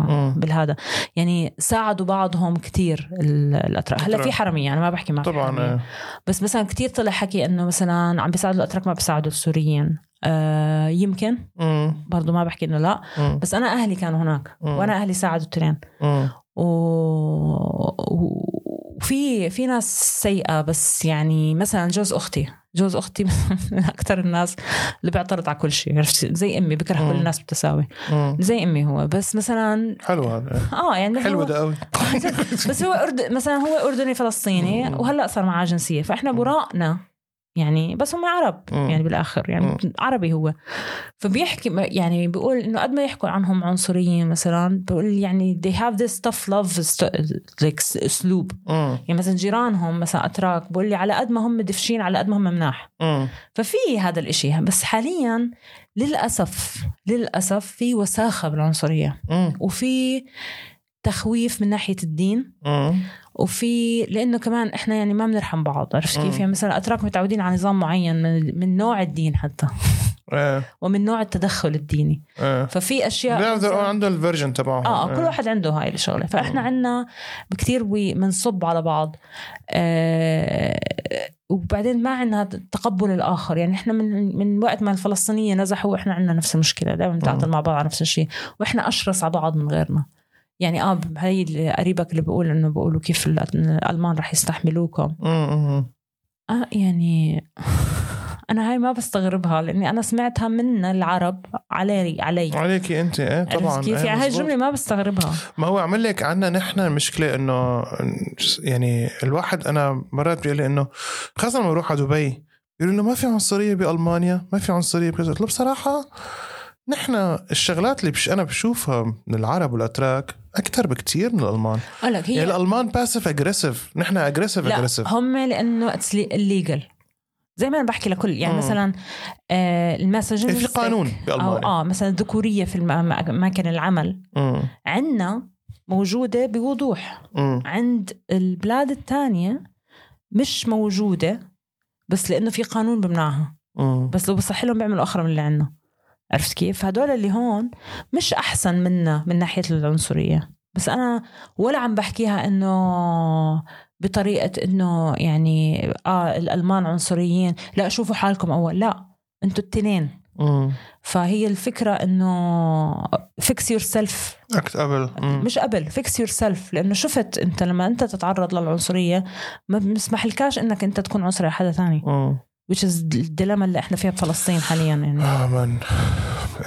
Speaker 1: مم.
Speaker 2: بالهذا يعني ساعدوا بعضهم كثير الاتراك هلا في
Speaker 1: الأتراك.
Speaker 2: حراميه انا ما بحكي معك
Speaker 1: طبعا
Speaker 2: حرامية.
Speaker 1: آه.
Speaker 2: بس مثلا كتير طلع حكي انه مثلا عم بيساعدوا الاتراك ما بيساعدوا السوريين آه يمكن
Speaker 1: مم.
Speaker 2: برضو ما بحكي انه لا
Speaker 1: مم.
Speaker 2: بس انا اهلي كانوا هناك
Speaker 1: مم.
Speaker 2: وانا اهلي ساعدوا الترين
Speaker 1: مم.
Speaker 2: و- و- وفي في ناس سيئه بس يعني مثلا جوز اختي جوز اختي من اكثر الناس اللي بيعترض على كل شيء عرفت زي امي بكره
Speaker 1: مم.
Speaker 2: كل الناس بالتساوي
Speaker 1: مم.
Speaker 2: زي امي هو بس مثلا
Speaker 1: حلو هذا
Speaker 2: اه يعني
Speaker 1: حلو
Speaker 2: هو-
Speaker 1: ده قوي
Speaker 2: بس هو أرد... مثلا هو اردني فلسطيني
Speaker 1: مم.
Speaker 2: وهلا صار معاه جنسيه فاحنا براءنا يعني بس هم عرب
Speaker 1: مم.
Speaker 2: يعني بالاخر يعني عربي هو فبيحكي ما- يعني بيقول انه قد ما يحكوا عنهم عنصريين مثلا بيقول يعني they have this tough love st- like s- اسلوب يعني مثلا جيرانهم مثلا اتراك بقول لي على قد ما هم دفشين على قد ما هم مناح ففي هذا الاشي بس حاليا للاسف للاسف في وساخه بالعنصريه وفي تخويف من ناحيه الدين وفي لانه كمان احنا يعني ما بنرحم بعض عرفت كيف
Speaker 1: مم.
Speaker 2: يعني مثلا اتراك متعودين على نظام معين من, من نوع الدين حتى
Speaker 1: إيه،
Speaker 2: ومن نوع التدخل الديني ففي اشياء
Speaker 1: بيعرفوا إيه. عنده إيه. الفيرجن تبعهم
Speaker 2: اه كل واحد عنده هاي الشغله فاحنا
Speaker 1: مم.
Speaker 2: عنا كثير بنصب على بعض آه وبعدين ما عندنا تقبل الاخر يعني احنا من من وقت ما الفلسطينيه نزحوا احنا عندنا نفس المشكله دائما بنتعاطل مع بعض على نفس الشيء واحنا اشرس على بعض من غيرنا يعني اه هي اللي قريبك اللي بقول انه بقولوا كيف الأت- الالمان رح يستحملوكم
Speaker 1: مم.
Speaker 2: اه يعني انا هاي ما بستغربها لاني انا سمعتها من العرب علي علي
Speaker 1: عليكي انت ايه طبعا
Speaker 2: عرفت كيف
Speaker 1: إيه،
Speaker 2: يعني هاي
Speaker 1: مزبوط.
Speaker 2: الجمله ما بستغربها
Speaker 1: ما هو عمل لك عنا نحن المشكله انه يعني الواحد انا مرات بيقول لي انه خاصه لما بروح على دبي بيقولوا له ما في عنصريه بالمانيا ما في عنصريه بكذا قلت له بصراحه نحن الشغلات اللي بش انا بشوفها من العرب والاتراك اكثر بكتير من الالمان
Speaker 2: اه لك
Speaker 1: يعني
Speaker 2: هي
Speaker 1: الالمان باسف اجريسيف نحن اجريسيف
Speaker 2: لا
Speaker 1: اجريسيف
Speaker 2: هم لانه اتس الليجل زي ما انا بحكي لكل يعني
Speaker 1: مم.
Speaker 2: مثلا آه المساجين
Speaker 1: إيه، في قانون
Speaker 2: او
Speaker 1: بالمانيا
Speaker 2: اه مثلا الذكوريه في الم- اماكن العمل
Speaker 1: أمم،
Speaker 2: عندنا موجوده بوضوح
Speaker 1: أمم،
Speaker 2: عند البلاد الثانيه مش موجوده بس لانه في قانون بمنعها
Speaker 1: أمم،
Speaker 2: بس لو بصح لهم بيعملوا اخرى من اللي عندنا عرفت كيف؟ هدول اللي هون مش احسن منا من ناحيه العنصريه بس انا ولا عم بحكيها انه بطريقه انه يعني اه الالمان عنصريين لا شوفوا حالكم اول لا انتوا التنين
Speaker 1: أمم.
Speaker 2: فهي الفكره انه فيكس يور سيلف
Speaker 1: اكت قبل أمم،
Speaker 2: مش قبل فيكس يور سيلف لانه شفت انت لما انت تتعرض للعنصريه ما بيسمحلكاش انك انت تكون عنصري على حدا ثاني
Speaker 1: أمم.
Speaker 2: which is الديلما اللي احنا فيها بفلسطين حاليا يعني
Speaker 1: اه مان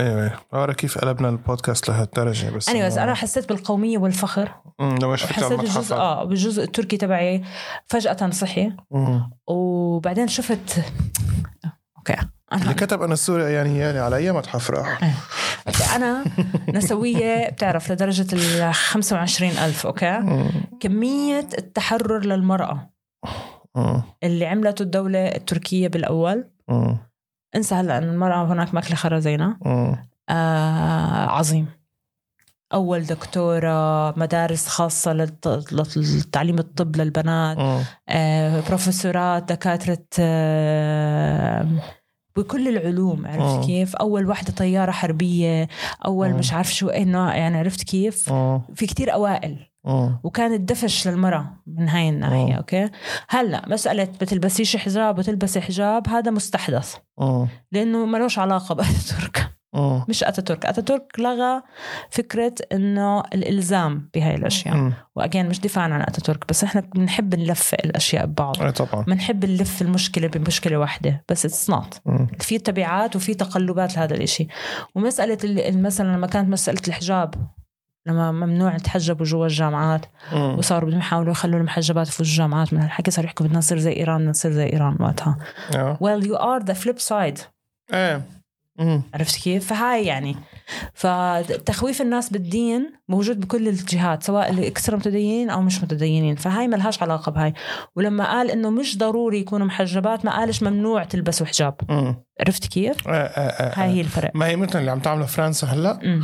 Speaker 1: ايوه ورا كيف قلبنا البودكاست لهالدرجه بس
Speaker 2: انا أيوة، بس انا حسيت بالقوميه والفخر
Speaker 1: أمم، لما شفت
Speaker 2: حسيت بالجزء
Speaker 1: المتحف
Speaker 2: اه بالجزء التركي تبعي فجاه صحي
Speaker 1: أمم.
Speaker 2: وبعدين شفت اوكي
Speaker 1: اللي
Speaker 2: انا
Speaker 1: كتب انا السوري يعني يعني على اي متحف راح
Speaker 2: انا نسويه بتعرف لدرجه ال 25 الف اوكي
Speaker 1: أمم،
Speaker 2: كميه التحرر للمراه
Speaker 1: آه.
Speaker 2: اللي عملته الدوله التركيه بالاول
Speaker 1: آه.
Speaker 2: انسى هلا إن المراه هناك ماكله خرا زينا
Speaker 1: آه.
Speaker 2: آه عظيم اول دكتوره مدارس خاصه للت- للتعليم الطب للبنات
Speaker 1: آه.
Speaker 2: آه، بروفيسورات دكاترة آه، بكل العلوم
Speaker 1: آه.
Speaker 2: عرفت كيف أول واحدة طيارة حربية أول
Speaker 1: آه.
Speaker 2: مش عارف شو إنه يعني عرفت كيف
Speaker 1: آه.
Speaker 2: في كتير أوائل
Speaker 1: آه.
Speaker 2: وكان الدفش للمرأة من هاي الناحية
Speaker 1: آه.
Speaker 2: أوكي هلأ مسألة بتلبسيش حجاب وتلبسي حجاب هذا مستحدث
Speaker 1: آه.
Speaker 2: لأنه ملوش علاقة بأتاتورك
Speaker 1: آه.
Speaker 2: مش أتاتورك أتاتورك لغى فكرة إنه الإلزام بهاي الأشياء
Speaker 1: مم.
Speaker 2: وأجين مش دفاعا عن أتاتورك بس إحنا بنحب نلفق الأشياء ببعض
Speaker 1: اي طبعا
Speaker 2: بنحب نلف المشكلة بمشكلة واحدة بس اتس نوت
Speaker 1: مم.
Speaker 2: في تبعات وفي تقلبات لهذا الإشي ومسألة ال- مثلا لما كانت مسألة الحجاب لما ممنوع يتحجبوا جوا الجامعات
Speaker 1: مم.
Speaker 2: وصاروا بدهم يحاولوا يخلوا المحجبات يفوتوا الجامعات من هالحكي صاروا يحكوا بدنا نصير زي ايران بدنا نصير زي ايران وقتها
Speaker 1: آه.
Speaker 2: well you are the flip side
Speaker 1: ايه مم.
Speaker 2: عرفت كيف فهاي يعني فتخويف الناس بالدين موجود بكل الجهات سواء اللي اكثر متدينين او مش متدينين فهاي ملهاش علاقه بهاي ولما قال انه مش ضروري يكونوا محجبات ما قالش ممنوع تلبسوا حجاب
Speaker 1: مم.
Speaker 2: عرفت كيف
Speaker 1: آه، آه، آه،
Speaker 2: هاي
Speaker 1: آه.
Speaker 2: هي الفرق
Speaker 1: ما هي مثل اللي عم تعمله فرنسا هلا
Speaker 2: أمم.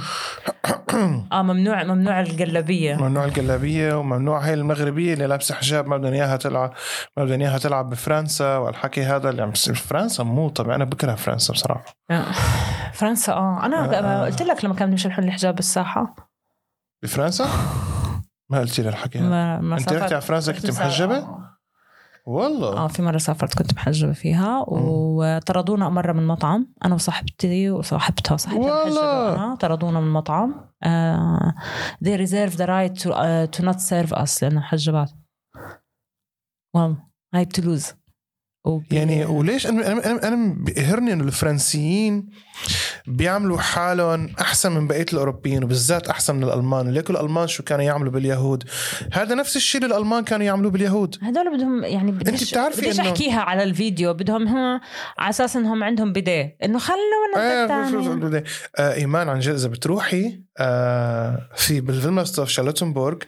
Speaker 2: اه ممنوع ممنوع الجلابيه
Speaker 1: ممنوع الجلابيه وممنوع هاي المغربيه اللي لابسه حجاب ما بدهم اياها تلعب ما بدهم اياها تلعب بفرنسا والحكي هذا اللي عم بيصير فرنسا مو طبيعي انا بكره فرنسا بصراحه
Speaker 2: آه. فرنسا اه انا
Speaker 1: آه.
Speaker 2: آه. قلت لك لما كان بدهم يشبحون الحجاب بالساحه
Speaker 1: بفرنسا ما قلت لي الحكي هذا
Speaker 2: ما ما
Speaker 1: انت رحتي على فرنسا كنت محجبه؟ والله
Speaker 2: اه في مره سافرت كنت محجبه فيها وطردونا مره من مطعم انا وصاحبتي وصاحبتها صاحبتي
Speaker 1: والله.
Speaker 2: محجبة أنا، طردونا من مطعم آه they reserve the right to, uh, to not serve us لانه محجبات والله هاي بتلوز وب-
Speaker 1: يعني وليش انا انا انا, أنا بيقهرني انه الفرنسيين بيعملوا حالهم احسن من بقيه الاوروبيين وبالذات احسن من الالمان ليكو الالمان شو كانوا يعملوا باليهود هذا نفس الشيء اللي الالمان كانوا يعملوا باليهود
Speaker 2: هدول بدهم يعني بديش
Speaker 1: بتعرفي
Speaker 2: بديش
Speaker 1: إنه-
Speaker 2: احكيها على الفيديو بدهم ها على اساس انهم عندهم بدايه انه خلونا
Speaker 1: آه،
Speaker 2: الثاني
Speaker 1: آه، ايمان عن جد اذا بتروحي آه، في بالفيلمستوف شارلوتنبورغ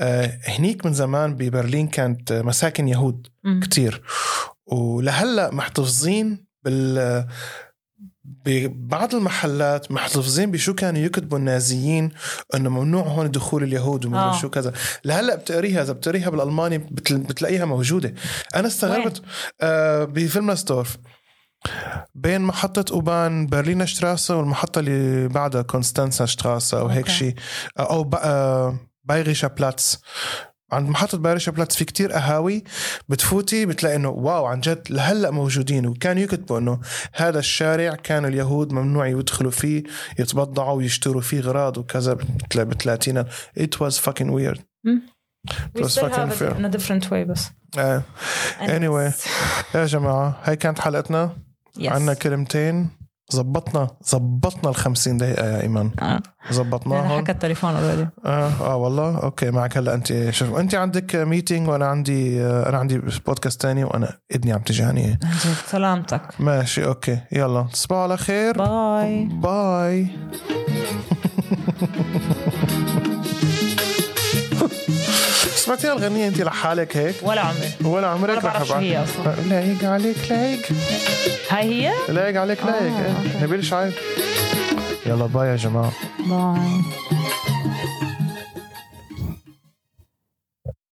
Speaker 1: آه، هنيك من زمان ببرلين كانت آه، مساكن يهود كتير ولهلا محتفظين بال ببعض المحلات محتفظين بشو كانوا يكتبوا النازيين انه ممنوع هون دخول اليهود ومدري
Speaker 2: آه.
Speaker 1: شو كذا لهلا بتقريها اذا بتقريها بالالماني بتل... بتلاقيها موجوده انا استغربت آه بفيلم ستورف بين محطة أوبان برلينا شتراسة والمحطة اللي بعدها كونستانسا شتراسة أو هيك
Speaker 2: أوكي.
Speaker 1: شيء أو ب... آه بايريشا بلاتس عند محطة بايريشا بلاتس في كتير قهاوي بتفوتي بتلاقي انه واو عن جد لهلا موجودين وكانوا يكتبوا انه هذا الشارع كانوا اليهود ممنوع يدخلوا فيه يتبضعوا ويشتروا فيه غراض وكذا بتلا- بالثلاثينات it was fucking weird It was fucking fair.
Speaker 2: in a different way بس
Speaker 1: آه. Anyway.
Speaker 2: Anyways.
Speaker 1: يا جماعة هاي كانت حلقتنا
Speaker 2: Yes.
Speaker 1: عنا كلمتين زبطنا زبطنا ال 50 دقيقة يا إيمان
Speaker 2: آه. انا
Speaker 1: زبطناهم
Speaker 2: حكى التليفون اوريدي
Speaker 1: آه, اه والله اوكي معك هلا انت شوف انت عندك ميتينج وانا عندي آه، انا عندي بودكاست تاني وانا اذني عم تجعني
Speaker 2: سلامتك
Speaker 1: ماشي اوكي يلا تصبحوا على خير
Speaker 2: باي
Speaker 1: باي سمعتيها الغنية انت لحالك هيك
Speaker 2: ولا عمري
Speaker 1: ولا عمرك
Speaker 2: ولا
Speaker 1: رح
Speaker 2: بعرف شو
Speaker 1: أبعت-
Speaker 2: هي أصلاً.
Speaker 1: لايق عليك لايق
Speaker 2: هاي هي
Speaker 1: لايق عليك لايق
Speaker 2: آه،
Speaker 1: إيه.
Speaker 2: أوكي.
Speaker 1: نبيل شعيب يلا باي يا جماعه
Speaker 2: باي